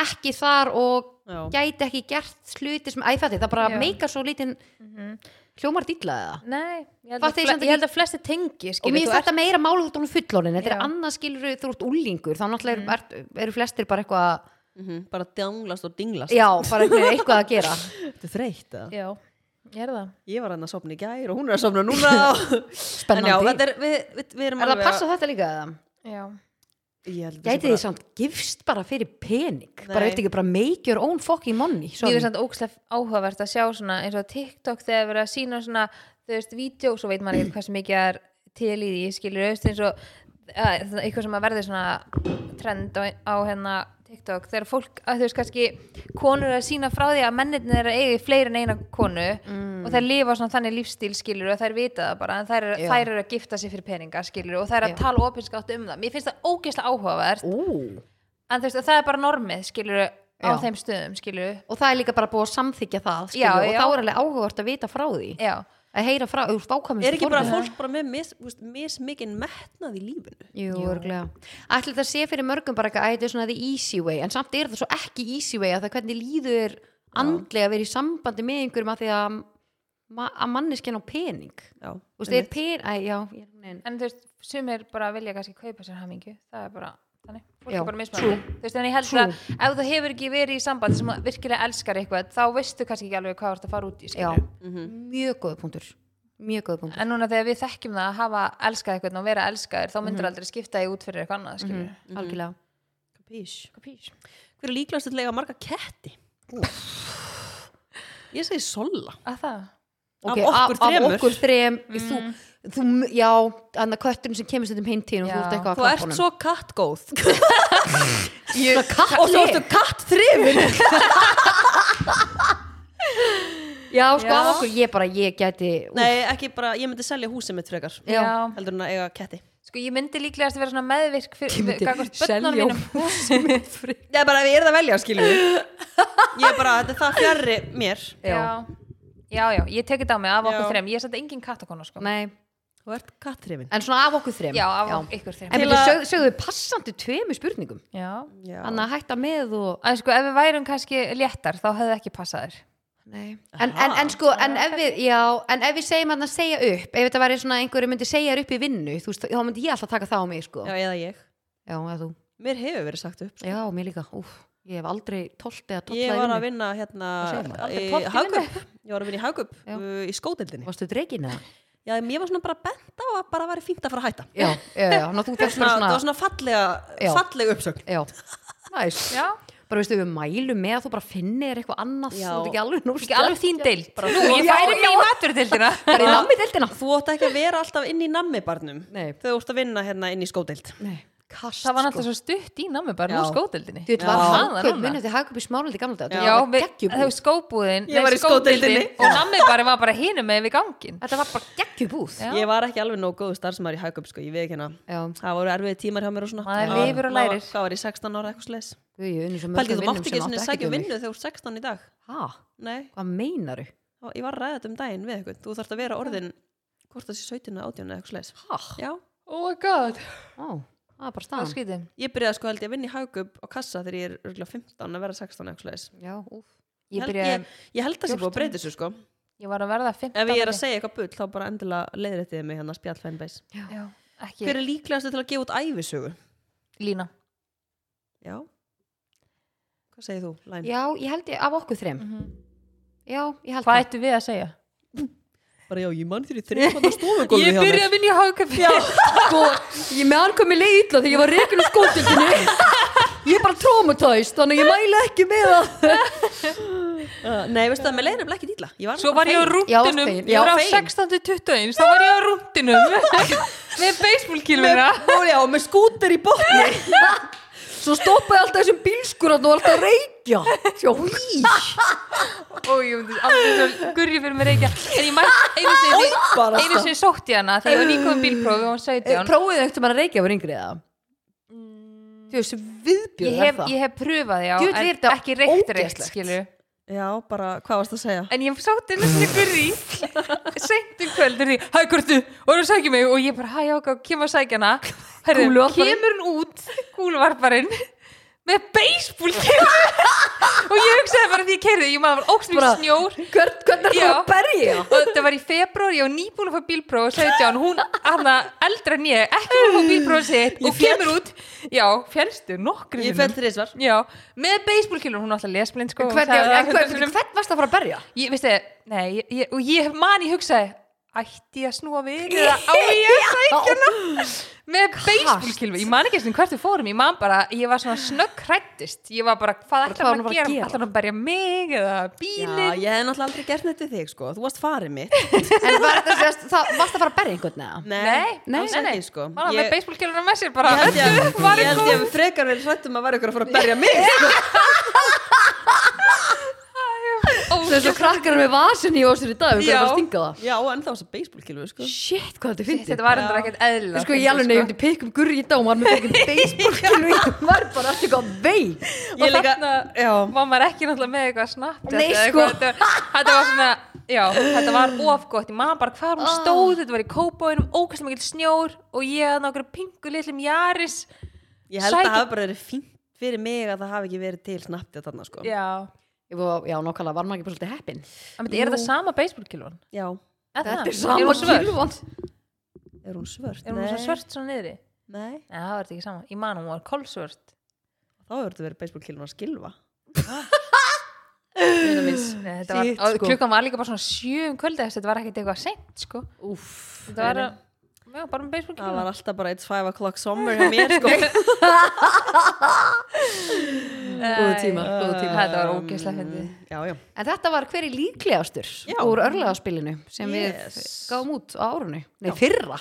Speaker 2: ekki þar og
Speaker 1: já,
Speaker 2: gæti ekki gert hluti sem, æ, fætti, það bara
Speaker 3: Já. Mhm.
Speaker 2: meikar svo lítinn hljómar dilla eða
Speaker 3: Nei, ég held,
Speaker 2: Fattu
Speaker 3: að,
Speaker 2: þið
Speaker 3: fle-
Speaker 2: samt
Speaker 3: ég
Speaker 2: ekki-
Speaker 3: held að flesti tengi
Speaker 2: og
Speaker 3: skilur,
Speaker 2: mér
Speaker 3: þú
Speaker 2: finnst þetta meira mála út á hún fullónin þetta er
Speaker 3: Já.
Speaker 2: annað skilur þú ert úlingur þá náttúrulega mm. er, eru flestir bara eitthvað
Speaker 1: mhm, bara djanglast og dinglast
Speaker 2: já, bara eitthvað, eitthvað að gera
Speaker 1: þetta er þreytt eða?
Speaker 3: ert- Já, ég er það
Speaker 1: ég var hann að sopna í gær og hún er að sopna núna en
Speaker 2: spennandi,
Speaker 1: já,
Speaker 2: er,
Speaker 1: þetta er, við, við, við erum
Speaker 2: það að passa þetta líka eða?
Speaker 3: Já,
Speaker 1: ég held að
Speaker 2: gæti
Speaker 1: þetta
Speaker 2: því
Speaker 1: sé
Speaker 2: samt gifst bara fyrir pening bara
Speaker 1: Nei.
Speaker 2: veit ekki, bara make your own fucking money
Speaker 3: Mér
Speaker 2: sorry.
Speaker 3: finnst þetta ókslega áhugavert að sjá svona eins og TikTok þegar verið að sína svona þú veist, vídeo, svo veit maður ekki hversu mikið það er til í því, skilur auðvist eins og að, eitthvað sem að verði svona trend á, á hérna TikTok þegar fólk, að þú veist kannski konur að sína frá því að mennirnir eru að eigi fleiri en eina konu
Speaker 2: Mm.
Speaker 3: og þær lifa svona þannig lífstíl skilur og þær vita það bara en þær, eru-
Speaker 2: Já.
Speaker 3: þær eru að gifta sig fyrir peninga skilur og þær eru að
Speaker 2: Já.
Speaker 3: tala opinskátt um það mér finnst það ógeðslega áhugavert
Speaker 2: Ú.
Speaker 3: en þú veist að það er bara normið skilur á
Speaker 2: Já.
Speaker 3: þeim stöðum skilur
Speaker 2: og það er líka bara búið að samþykja það skilur,
Speaker 3: Já,
Speaker 2: og
Speaker 3: já.
Speaker 2: þá er alveg áhugavert að vita frá því
Speaker 3: Já,
Speaker 2: að heyra frá, úr fákvæmum
Speaker 1: er ekki bara fólk bara með mis, mis, mis mikinn metnað í lífinu
Speaker 2: Jú, örglega. Ætli það sé fyrir mörgum bara eitthvað að þetta er svona the easy way, en samt er það svo ekki easy way að það hvernig líður andlega að vera í sambandi með einhverjum að því að, ma að manneskjan á pening.
Speaker 1: já,
Speaker 2: Þú veist, er pen, æ, já, ég er neinn.
Speaker 3: en þú veist, sumir bara vilja kannski kaupa sér hamingju, það er bara þannig, fólk
Speaker 2: Já,
Speaker 3: er bara mismunandi þú veist, en ég held
Speaker 2: True.
Speaker 3: að ef þú hefur ekki verið í sambandi sem þú virkilega elskar eitthvað þá veistu kannski ekki alveg hvað þú ert að fara út í
Speaker 2: Já,
Speaker 3: skilurðu.
Speaker 1: Mm.
Speaker 2: mjög góð punktur. Mjög góð punktur.
Speaker 3: en núna þegar við þekkjum það að hafa elskað eitthvað og vera elskaðir, þá myndir aldrei skipta þig út fyrir eitthvað annað, skilur mm
Speaker 1: Mhm.
Speaker 2: Algjörlega.
Speaker 1: Capiche.
Speaker 3: -hmm.
Speaker 1: hver er líklast að lega marga ketti ég segi solla
Speaker 3: að það
Speaker 1: Af
Speaker 2: Ok,
Speaker 1: okkur
Speaker 2: Af
Speaker 1: þremur. Mm.
Speaker 2: okkur þrem, þú, þú, já, annar kötturinn sem kemur stundum heim tíðin og
Speaker 3: Já.
Speaker 2: þú ert eitthvað að
Speaker 1: þú ert svo kattgóð og
Speaker 2: Svona katt-
Speaker 1: svo ertu kattþrifin
Speaker 2: Já, sko,
Speaker 3: Já.
Speaker 2: af okkur, ég bara, ég gæti, úf,
Speaker 1: nei ekki bara, ég myndi selja húsið mitt frekar
Speaker 2: Já.
Speaker 1: heldur en að eiga ketti
Speaker 3: sko ég myndi líklegast að vera svona meðvirk
Speaker 2: ég
Speaker 3: fyrir
Speaker 2: myndi
Speaker 3: gagvart börnunum
Speaker 2: selja
Speaker 3: mínum
Speaker 2: húsið mitt fyrir-
Speaker 1: ég er bara, ef ég er það velja skilju ég er bara, þetta er það fjarrri mér
Speaker 3: já. já, já, ég tekið á mig af okkur
Speaker 1: Já.
Speaker 3: þreim ég er satt engin kattakona sko
Speaker 2: Nei,
Speaker 1: þú ert kattþrifin
Speaker 2: en svona af okkur þrem
Speaker 3: já, af ykkur þreim
Speaker 2: En
Speaker 1: Til
Speaker 2: byrju,
Speaker 1: að-
Speaker 2: sög, sögðu þið passandi tveimu spurningum
Speaker 3: já
Speaker 2: Þannig að hætta með og
Speaker 3: En sko, ef við værum kannski léttar, þá hefði ekki passað þér.
Speaker 2: en, en, en sko, en ef við já, en ef við segjum að það segja upp ef þetta væri svona einhverju myndi segja þér upp í vinnu þú veist, þá myndi ég alltaf taka það á mig sko.
Speaker 1: já, eða ég
Speaker 2: já eða þú,
Speaker 1: mér hefur verið sagt upp
Speaker 2: já, mér líka Úf, ég hef aldrei tólt eða tólt
Speaker 1: ég var að vinna hérna
Speaker 2: Hvað segir maður?
Speaker 1: í
Speaker 2: Aldrei topp í
Speaker 1: Hagup ég var að vinna í Hagup
Speaker 2: Já.
Speaker 1: uh, í skódeldinni
Speaker 2: Varstu dregin eða?
Speaker 1: já, ég var svona bara bent á að bara væri fínt að fara að hætta
Speaker 2: Já, já, já, ná, þú þarft
Speaker 1: svona,
Speaker 2: bara
Speaker 1: það
Speaker 2: svona,
Speaker 1: var svona fallega,
Speaker 2: Já.
Speaker 1: fallega uppsögn
Speaker 2: Já, næs
Speaker 3: Já.
Speaker 2: Bara veistu, við mælum með að þú bara finnir eitthvað annað
Speaker 1: Já.
Speaker 2: þú ert ekki alveg nú
Speaker 3: Ekki alveg þín deild.
Speaker 1: Bara
Speaker 3: Nú,
Speaker 1: þú-
Speaker 3: ég færi mig í maturdeildina.
Speaker 2: Það er námið deildina
Speaker 1: þú átt ekki að vera alltaf inn í nammibarnum
Speaker 2: Nei.
Speaker 1: þegar þú ert að vinna hérna inn í skódeild
Speaker 2: Nei, kast
Speaker 3: Það
Speaker 2: sko.
Speaker 3: var náttúrulega svo stutt í námi bara, nú
Speaker 2: Já.
Speaker 3: skódeildinni.
Speaker 2: Þú veit, var
Speaker 3: Já.
Speaker 2: hagkaup,
Speaker 3: núna.
Speaker 2: munið eftir hagkaup í smáraldi gamla dag
Speaker 3: Já, við- þau
Speaker 2: geggjubúð
Speaker 3: skóbúðin.
Speaker 1: Ég
Speaker 3: nei,
Speaker 1: var í skódeildinni.
Speaker 3: skódeildin Og námi bara var bara hinum með við gangin.
Speaker 2: Þetta var bara geggjubúð
Speaker 3: Já.
Speaker 1: ég var ekki alveg nóg góðu starfsmæður í Hagup sko, ég veit ekki hérna
Speaker 2: Já,
Speaker 1: það voru erfiði tímar hjá mér og svona
Speaker 3: Maður
Speaker 1: Það var-
Speaker 3: lifir
Speaker 1: það
Speaker 3: og
Speaker 1: var-
Speaker 3: lærir.
Speaker 1: hvað var ég 16 ára eitthvað sles
Speaker 2: guð, ég unni svo
Speaker 1: Paldi,
Speaker 2: mörgum
Speaker 1: þú
Speaker 2: vinnum
Speaker 1: mátt ekki
Speaker 2: sem
Speaker 1: svona
Speaker 2: áttu
Speaker 1: sækja
Speaker 2: ekki um
Speaker 1: vinnu
Speaker 2: mig
Speaker 1: þegar þú ert 16 í dag
Speaker 2: Hæ,
Speaker 1: nei,
Speaker 2: hvað meinaru?
Speaker 1: og ég var að ræða þetta um daginn við eitthvað þú þarfst að vera orðin hvort það sé 17 eða 18 eða eitthvað sles
Speaker 2: Hæ,
Speaker 1: já,
Speaker 3: Oh my god.
Speaker 2: á, það er bara
Speaker 3: Það var
Speaker 2: staðan
Speaker 3: skrítið.
Speaker 1: ég byrjaði sko held ég að vinna í Hagup á kassa þegar ég er örugglega 15 að vera 16 eða eitthvað sles
Speaker 2: Já, úf
Speaker 3: Ég
Speaker 1: Held-
Speaker 3: byrjaði,
Speaker 1: ég, ég held að það sé búið að
Speaker 2: 14.
Speaker 1: breyta þessu sko
Speaker 3: ég var að verða 15.
Speaker 1: ef ég er að segja eitthvað bull þá bara endilega leiðréttið mig hérna spjall fanbase
Speaker 3: Já. ekki
Speaker 1: Hver er líklegastu til að gefa út æfisögu?
Speaker 3: lína
Speaker 1: Já. Hvað segir þú, Læn?
Speaker 2: já, ég held ég af okkur þreim já, ég held
Speaker 3: hvað
Speaker 2: það
Speaker 3: ættu við að segja?
Speaker 1: Bara já, ég mann þér í þreifanda stofugólfi hjá þér.
Speaker 3: að vinja hákafé
Speaker 2: sko, ég með hann komið leið illa þegar ég var reikun á skóldildinu ég er bara traumatæst þannig að ég mæla ekki með það
Speaker 1: Uh, Nei, veistu það, mér leiðir nefnilega ekki dýla. Ég var
Speaker 3: svo var ég á
Speaker 1: rú.
Speaker 2: Já, varst
Speaker 3: rúndinum
Speaker 2: fegin.
Speaker 3: ég var
Speaker 1: Já,
Speaker 3: á
Speaker 1: fegin.
Speaker 3: 16.21 þá var ég á rúndinum með baseballkýluna
Speaker 1: Já, með skúter í botni.
Speaker 2: svo stoppaði alltaf þessum bílskur og alltaf að reykja Sjó.
Speaker 3: og ég myndi aldrei svo gurri fyrir mér reykja en ég mætti einu sinni
Speaker 1: Bara
Speaker 3: einu sinni sótti ég hana þegar ég var nýkomum bílprófi og hún
Speaker 2: Eh,
Speaker 3: 17
Speaker 2: prófið ekkert maður að reykja var yngri eða
Speaker 1: Mm.
Speaker 2: þú veist,
Speaker 3: ég
Speaker 2: viðbjörn er
Speaker 3: hef,
Speaker 2: það
Speaker 3: ég hef pröfað já
Speaker 2: Djöfull er
Speaker 3: en
Speaker 2: þetta
Speaker 3: ekki reykt reykt
Speaker 2: ógeðslegt.
Speaker 3: skilu
Speaker 1: Já, bara, hvað varst það að segja?
Speaker 3: en ég sátti næstu gurri seint um kvöld er því hæ Gurtu, og hún sækja mig og ég bara hæ ákvað, kem að sækja hana herðu,
Speaker 2: Kúluvarparinn.
Speaker 3: kemur hún út kúluvarparinn með baseball og ég hugsaði bara því ég kerði ég maður var óksnum
Speaker 2: Bara-
Speaker 3: snjór
Speaker 2: Hvern, hvernig er það
Speaker 3: Já.
Speaker 2: að berja?
Speaker 3: og þetta var í februar, ég var nýbúin að fá bílpróf og 17, hún hana eldra en ég ekki búin að fá bílpróf sitt
Speaker 1: Ég
Speaker 3: og
Speaker 1: féll.
Speaker 3: kemur út, já, fjælstu nokkru
Speaker 1: Ég fell þreisvar.
Speaker 3: já, með baseballkilur, hún var alltaf lesblind sko, hún
Speaker 2: Hvern,
Speaker 3: sagði
Speaker 2: hvern,
Speaker 3: ekkert
Speaker 2: hvern,
Speaker 3: um-
Speaker 2: hvern varst það að fara að berja?
Speaker 3: ég, veistu, nei, ég, ég, og ég man ég hugsaði ætti ég að snúa við eða á ég að sækja hana með beisbúlkilvi, ég man ekki eftir hvert við fórum ég man bara, ég var svona snögg hrættist ég var bara, hvað
Speaker 2: Bara
Speaker 3: ætlar
Speaker 2: hvað
Speaker 3: hann
Speaker 2: hún var
Speaker 3: að
Speaker 2: að
Speaker 3: gera
Speaker 2: gera?
Speaker 3: ætlar hann að berja mig eða
Speaker 1: Já,
Speaker 3: bílin
Speaker 1: ég hef náttúrulega aldrei gert neitt við þig, sko. Þú varst farið mitt.
Speaker 2: En var þetta sérst, það, varst það að fara að berja einhvern eða?
Speaker 3: nei,
Speaker 2: nei,
Speaker 1: alls
Speaker 3: nei, nei.
Speaker 1: ekki, sko.
Speaker 3: hann var með
Speaker 1: Ég-
Speaker 3: beisbúlkilvina með sér
Speaker 1: Ég
Speaker 3: bara
Speaker 1: held ég
Speaker 3: öllu
Speaker 1: að-
Speaker 3: var
Speaker 1: ég
Speaker 3: ég
Speaker 1: held ég að frekar verið hrættum að vera ykkur að fara að berja mig.
Speaker 2: Svo þessu krakkar með vasin í ósir í dag og
Speaker 3: Já.
Speaker 2: hvernig bara stinga það
Speaker 1: Já, en það var svo baseballkilvu, sko.
Speaker 2: Shit, hvað þetta fyndi
Speaker 3: þetta var endur ekkert eðla
Speaker 2: Sko ég alveg nefndi, ég myndi pikk um gurri í dag og maður með fyrir baseballkilu Ég var bara alltaf eitthvað veik
Speaker 1: Ég
Speaker 3: og
Speaker 1: líka-
Speaker 3: þarna
Speaker 1: já.
Speaker 3: var maður ekki náttúrulega með eitthvað snabbt
Speaker 2: Nei, sko.
Speaker 3: þetta, var- þetta var svona, já, þetta var ofgótt ég maður bara hvað
Speaker 2: Ah.
Speaker 3: hún stóð, þetta var í kópáinum ókvæmst mikill snjór og ég að nákvæmlega pingu litlum jaris
Speaker 1: Ég held að
Speaker 3: Sækir-
Speaker 1: það hafi bara verið fínt fyrir mig að það hafi ekki verið til snabbt í þarna, sko.
Speaker 3: já,
Speaker 2: Ég var- Já, nokkala, var maður ekki bara svolítið heppin
Speaker 3: en þetta er
Speaker 1: Jú.
Speaker 3: þetta sama baseballkilvan?
Speaker 1: Já,
Speaker 2: Þetta er sama kilvan
Speaker 1: er hún svört?
Speaker 3: er hún svo
Speaker 1: Nei.
Speaker 3: svört svo niðri?
Speaker 1: Nei,
Speaker 3: Nei, það var þetta ekki sama, ég man hún var kolsvört
Speaker 1: þá hefur þetta verið baseballkilvan að skilfa.
Speaker 3: Vina míns. Nei, þetta var,
Speaker 2: Shit,
Speaker 3: og
Speaker 2: sko.
Speaker 3: klukkan var líka bara svona sjö um kvöldi þetta var ekkert eitthvað sent sko.
Speaker 2: Úff
Speaker 3: þetta var já, bara með
Speaker 1: Það
Speaker 3: baseballkilvan
Speaker 1: var alltaf bara it's five o'clock summer hjá mér, sko.
Speaker 2: Góðu tíma, góðu
Speaker 3: Æ, uh,
Speaker 2: tíma
Speaker 3: þetta var ógeðslega fyndið
Speaker 1: Já, já.
Speaker 2: En þetta var hverju líklegastur
Speaker 1: Já.
Speaker 2: úr örlegaspilinu sem við
Speaker 1: Yes.
Speaker 2: gáum út á árunni Nei, fyrra,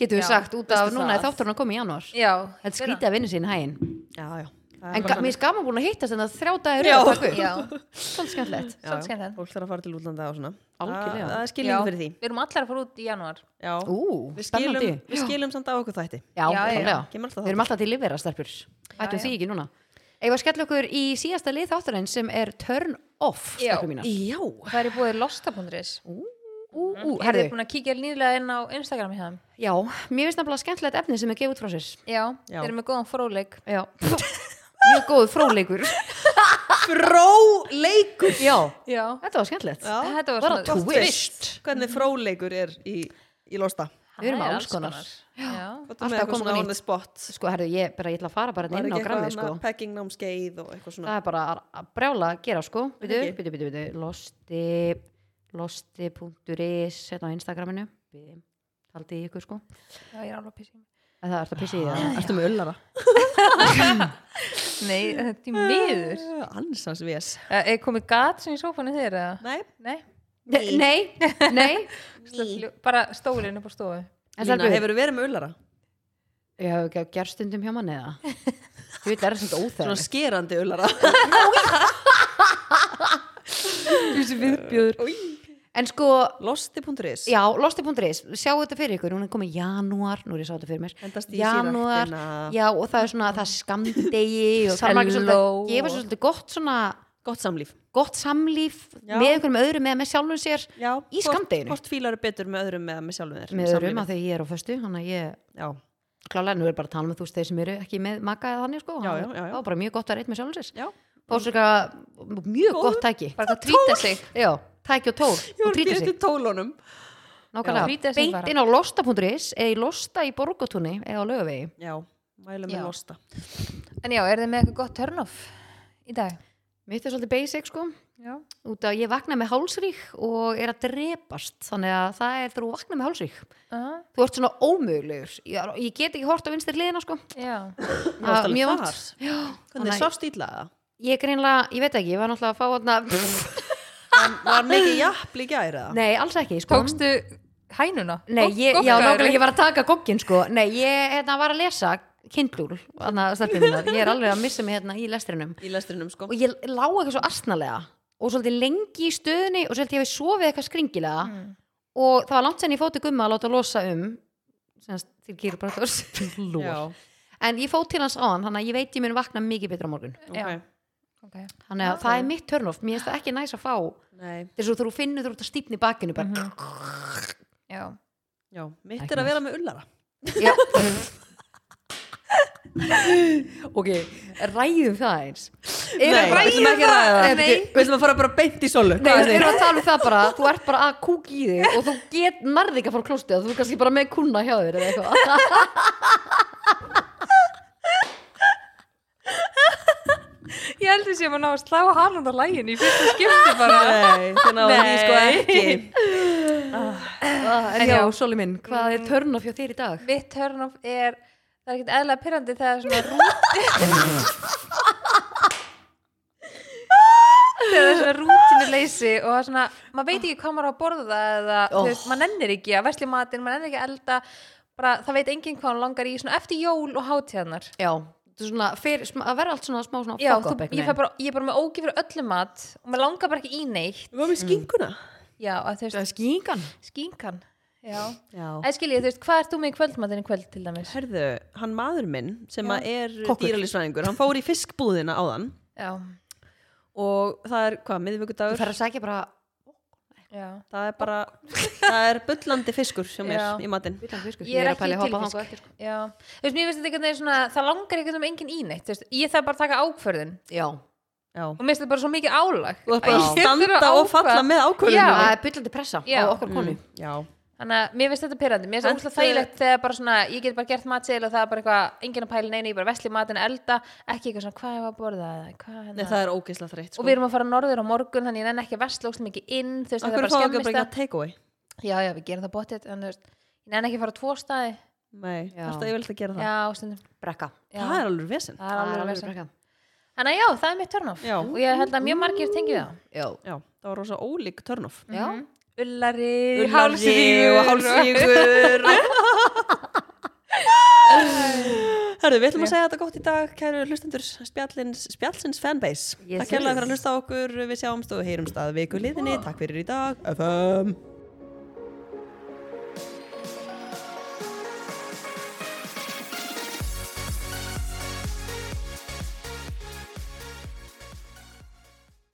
Speaker 2: getum við
Speaker 3: Já,
Speaker 2: sagt, út af
Speaker 1: veistu
Speaker 2: núna
Speaker 1: það?
Speaker 2: þátturinn að koma í janúar
Speaker 3: já,
Speaker 2: Þetta skrítið að vinna sín hæginn
Speaker 1: Já, já. Það er bara
Speaker 2: En ga-
Speaker 1: þannig.
Speaker 2: mér er gaman búin að hittast en það þrjá dagir
Speaker 1: Já.
Speaker 2: að taka upp.
Speaker 3: já,
Speaker 2: Svolítið skemmtilegt
Speaker 1: Já,
Speaker 3: svolítið
Speaker 1: já.
Speaker 3: skemmt
Speaker 1: Fólk þarf að fara til útlanda og svona.
Speaker 2: Algjörlega.
Speaker 1: Það- Það er skilningu fyrir því.
Speaker 3: við erum allar að fara út í janúar
Speaker 1: Já.
Speaker 2: Ú,
Speaker 1: Við
Speaker 2: spennandi
Speaker 1: skilum, við skilum samt á okkur þætti.
Speaker 2: Já,
Speaker 3: Já, já, já.
Speaker 2: já,
Speaker 1: Kemur alltaf
Speaker 2: Við erum alltaf til livera stelpur Ættum
Speaker 3: já.
Speaker 2: því ekki núna Eða skell okkur í síðasta lið þáttarinn sem er turn off
Speaker 3: Já.
Speaker 2: stelpur mínar
Speaker 1: Já.
Speaker 3: það er búið losta.is
Speaker 2: Ú, ú,
Speaker 3: er
Speaker 2: herðu
Speaker 3: Mhm. þið búin að kíkja nýlega inn á Instagram hjá þeim
Speaker 2: Já, mér finnst nefnilega skemmtilegt efni sem er gefið út frá sér
Speaker 3: já,
Speaker 1: Já.
Speaker 3: þeir eru með góðan fróleik
Speaker 2: Já Mjög góð fróleikur
Speaker 1: Fróleikur.
Speaker 2: Já,
Speaker 3: já,
Speaker 2: þetta var skemmtilegt
Speaker 1: Já.
Speaker 3: þetta var
Speaker 2: Var
Speaker 3: svona
Speaker 2: það twist
Speaker 1: Hvernig fróleikur er í, í losta?
Speaker 2: Við erum
Speaker 3: Það er
Speaker 2: alls konar.
Speaker 3: já,
Speaker 1: Hvað er
Speaker 2: Alltaf
Speaker 1: með eitthvað
Speaker 2: komið
Speaker 1: svona
Speaker 2: á
Speaker 1: on the spot?
Speaker 2: Sko, herðu, ég bara, ég ætla að fara bara
Speaker 1: Var
Speaker 2: inn á
Speaker 1: ekki
Speaker 2: græmi
Speaker 1: eitthvað
Speaker 2: sko.
Speaker 1: annað pegging námskeið og eitthvað svona
Speaker 2: það er bara að- að brjála að gera sko byrju,
Speaker 1: ekki?
Speaker 2: byrju, byrju, byrju, losti losti.is hérna á Instagraminu Byrju, haldið í ykkur sko
Speaker 3: já, ég er alveg písi
Speaker 2: en það ertu að pissa í það
Speaker 1: Ertu með öllara?
Speaker 3: nei, þetta er miður
Speaker 1: Ansans vés
Speaker 3: Eh, er komið gat sem í sófanu þeir eða?
Speaker 1: Nei,
Speaker 3: nei,
Speaker 2: Ne- nei, nei
Speaker 3: Slökkljó- bara stólinn upp á stofu
Speaker 2: en
Speaker 1: Lína,
Speaker 2: það er
Speaker 1: hefur verið með öllara?
Speaker 2: ég hef ekki að gera stundum hjá manni eða þú veit, það er þetta
Speaker 1: Svona
Speaker 2: óþægilegt
Speaker 1: skerandi öllara
Speaker 2: þessi viðbjöður en sko,
Speaker 1: Losti.is
Speaker 2: já, losti.is sjáu þetta fyrir ykkur, hún er komið janúar nú er ég sá þetta fyrir mér
Speaker 1: Endast í
Speaker 2: janúar,
Speaker 1: sírættina.
Speaker 2: já og það er svona það er skamdegi og það er margir svolítið
Speaker 3: Selló.
Speaker 2: að gefa sér svolítið gott svona
Speaker 1: Gott samlíf
Speaker 2: gott samlíf
Speaker 1: Já.
Speaker 2: með einhverjum öðrum eða með sjálfum sér
Speaker 1: já,
Speaker 2: Í skammdeginu.
Speaker 1: Hvort fílar er betur með öðrum eða með sjálfum þér
Speaker 2: með öðrum
Speaker 1: Samlífið.
Speaker 2: að þegar ég er á föstu þannig að ég
Speaker 1: Já,
Speaker 2: klálega nú er bara að tala með þú veist þeir sem eru ekki með maka eða þannig sko
Speaker 1: Já,
Speaker 2: þannig
Speaker 1: já, já,
Speaker 2: að
Speaker 1: já.
Speaker 2: það var bara mjög gott að reyta með sjálfum sér
Speaker 1: já
Speaker 2: Bósaka, mjög gott tæki
Speaker 3: bara að trýta sig
Speaker 2: já, tæki og tól
Speaker 1: Ég
Speaker 2: og
Speaker 1: var ekki
Speaker 2: trýta sig
Speaker 1: eftir tólunum
Speaker 3: Frýta
Speaker 2: nákvæmlega,
Speaker 3: sem bara.
Speaker 2: beint inn á losta.is eða í losta í borgotúni eða á lögavegi
Speaker 1: já, mælu með
Speaker 3: Já.
Speaker 1: losta
Speaker 3: En já, er þið með eitthvað gott turn-off í dag?
Speaker 2: mitt er svolítið basic sko
Speaker 3: Já.
Speaker 2: út að ég vakna með hálsrík og er að drepast þannig að það er þegar þú vakna með hálsrík
Speaker 3: Aha,
Speaker 2: þú ert svona ómögulegur ég, ég get ekki hort á vinstir hliðina sko
Speaker 3: já.
Speaker 1: Þú varst
Speaker 2: Ah,
Speaker 1: alveg
Speaker 2: mjög
Speaker 1: þar.
Speaker 2: vont. Já,
Speaker 1: hvernig
Speaker 2: þannig að-
Speaker 1: svafst illa það?
Speaker 2: ég greinlega, ég veit ekki, ég var náttúrulega að fá hana,
Speaker 1: Var- var mikið jafn líka æra það?
Speaker 2: nei, alls ekki sko.
Speaker 3: Tókstu hænuna?
Speaker 2: nei, ég,
Speaker 3: Gogg-
Speaker 2: já,
Speaker 3: goggaðir?
Speaker 2: nákvæmlega ég var að taka gogkin sko. nei, ég hérna, var að lesa kindlúl, þarna stelpum mínar ég er alveg að missa mig hérna í lestrinum
Speaker 1: í lestrinum sko
Speaker 2: og ég lá eitthvað svo astnalega og svolítið lengi í stöðunni og svolítið ég hef sofið eitthvað skringilega
Speaker 3: Mm.
Speaker 2: og það var langt senn ég fóti gumma að láta losa um semast til kýrbrátors
Speaker 1: já,
Speaker 2: en ég fót til hans á hann, þannig að ég veit ég mun vakna mikið betra á morgun
Speaker 1: ok,
Speaker 3: Já. Ok.
Speaker 2: þannig að
Speaker 1: Já.
Speaker 2: það er mitt törnof, mér finnst það ekki næs að fá
Speaker 1: nei,
Speaker 2: þess að þú finnur þú ert að stípni bakinu bara,
Speaker 3: Mhm. Já.
Speaker 1: já mitt
Speaker 2: Ekki
Speaker 1: er að
Speaker 2: næs.
Speaker 1: vera með ullara
Speaker 2: Já. ok, ræðum það eins Erum-
Speaker 1: Nei, við ætlum ekki að ræða það.
Speaker 2: Nei,
Speaker 1: Eh, við ætlum að fara bara beint í solu
Speaker 2: Nei, við erum að tala um það bara, þú ert bara að kúk í þig og þú get nærði ekki að fara klóstið þú er kannski bara með kuna hjá þér eða eitthvað
Speaker 3: Ég held því sem að ná að slá hann á lægin í fyrsta skipti bara.
Speaker 1: nei, þannig að því sko
Speaker 3: Nei.
Speaker 1: ekki
Speaker 2: Ah, En
Speaker 3: En
Speaker 2: já, Mm.
Speaker 3: já.
Speaker 2: Soli minn, hvað er törn of hjá þér í dag?
Speaker 3: Mitt turn-off er, það er ekkert eðlega pyrrandi þegar svona rúti. þegar það er svona rútinuleysi og það er svona, maður veit ekki hvað maður á að borða það eða,
Speaker 1: Oh.
Speaker 3: þú veist, maður nennir ekki að vesli matinn, maður nennir ekki að elda, bara það veit enginn hvað hann langar í, svona eftir jól og hátíðarnar.
Speaker 2: Já, þú svona, fyr, sm- að vera allt svona smá
Speaker 1: Oh,
Speaker 2: svona
Speaker 3: Já,
Speaker 2: fuck
Speaker 3: þú,
Speaker 2: up einhvern
Speaker 3: ég, fæ
Speaker 2: veginn.
Speaker 3: bara, ég er bara með ógifur öllum mat og maður langar bara ekki í neitt
Speaker 1: við varum í skinkuna
Speaker 3: Já, að þú veist,
Speaker 2: Það er skíngan
Speaker 3: skínkan Já,
Speaker 1: já
Speaker 3: eða skil ég, þú veist, hvað ert þú með í kvöldmatinn í kvöld til dæmis?
Speaker 1: Herðu, hann maður minn sem
Speaker 3: Já.
Speaker 1: að er
Speaker 2: Kokkur.
Speaker 1: dýralýsfræðingur, hann fór í fiskbúðina áðan
Speaker 3: Já,
Speaker 1: og það er, hvað,
Speaker 2: Þú
Speaker 1: miðvikudagur
Speaker 2: fer að segja bara
Speaker 3: já
Speaker 1: það er bara, það er bullandi fiskur sem er
Speaker 3: Já.
Speaker 1: í matinn
Speaker 2: Villan fiskur,
Speaker 3: Ég er ekki
Speaker 2: pæla í að hoppa
Speaker 3: til
Speaker 2: þangað.
Speaker 3: fisku
Speaker 1: sko.
Speaker 3: Já, þú veist, mér finnst þetta einhvern veginn svona það langar einhvern veginn enginn í neitt, þú veist ég þarf bara að taka ákvörðin
Speaker 2: Já,
Speaker 1: já,
Speaker 3: og mér finnst þetta bara svo mikið álag
Speaker 1: þú ert bara
Speaker 3: Ég
Speaker 1: að
Speaker 3: þarf
Speaker 1: standa og
Speaker 3: ákvaða.
Speaker 1: falla með ákvörðunum
Speaker 2: það er byllandi pressa
Speaker 3: Já.
Speaker 2: á okkur konu
Speaker 1: Mm, já,
Speaker 3: Þannig að mér finnst þetta pyrrandi, mér finnst
Speaker 1: Kanntu-
Speaker 3: þetta þægilegt þegar bara svona, ég get bara gert matseil og það er bara eitthvað, enginn að pæla neina, ég bara vesli matinn elda, ekki eitthvað svona, hvað er að borða eða hvað hérna-
Speaker 1: Nei, það er ógeðslega þreytt sko.
Speaker 3: og við erum að fara norður á morgun þannig ég nenni ekki að vestla óslega mikið inn þú veist, það er
Speaker 1: Akkur
Speaker 3: bara
Speaker 1: fá ekki að
Speaker 3: skemmist
Speaker 1: bringa
Speaker 3: það
Speaker 1: takeaway
Speaker 3: já, já, við gerum það bóttið en þú veist, ég nenni ekki að fara á tvo staði já,
Speaker 1: Nei,
Speaker 2: Já.
Speaker 1: þetta ég vilt að gera það
Speaker 3: stundum
Speaker 2: Brekka
Speaker 3: já,
Speaker 1: Það er alveg vesen
Speaker 3: það er alveg vesen.
Speaker 2: brekka
Speaker 3: þannig að já, það er mitt turnoff
Speaker 1: Já.
Speaker 3: og ég held að mjög margir tengi það
Speaker 2: Já,
Speaker 1: Já, það var rosa ólík turn-off
Speaker 2: já
Speaker 3: ullari,
Speaker 1: Ullari og hálsvíkur Herðu, við ætlum að segja þetta gott í dag kæru hlustendur spjallins, spjallins fanbase
Speaker 2: Yes,
Speaker 1: Takk hérlega
Speaker 2: yes.
Speaker 1: fyrir að hlusta á okkur við sjáumst og heyrumst að viku liðinni Takk fyrir í dag FM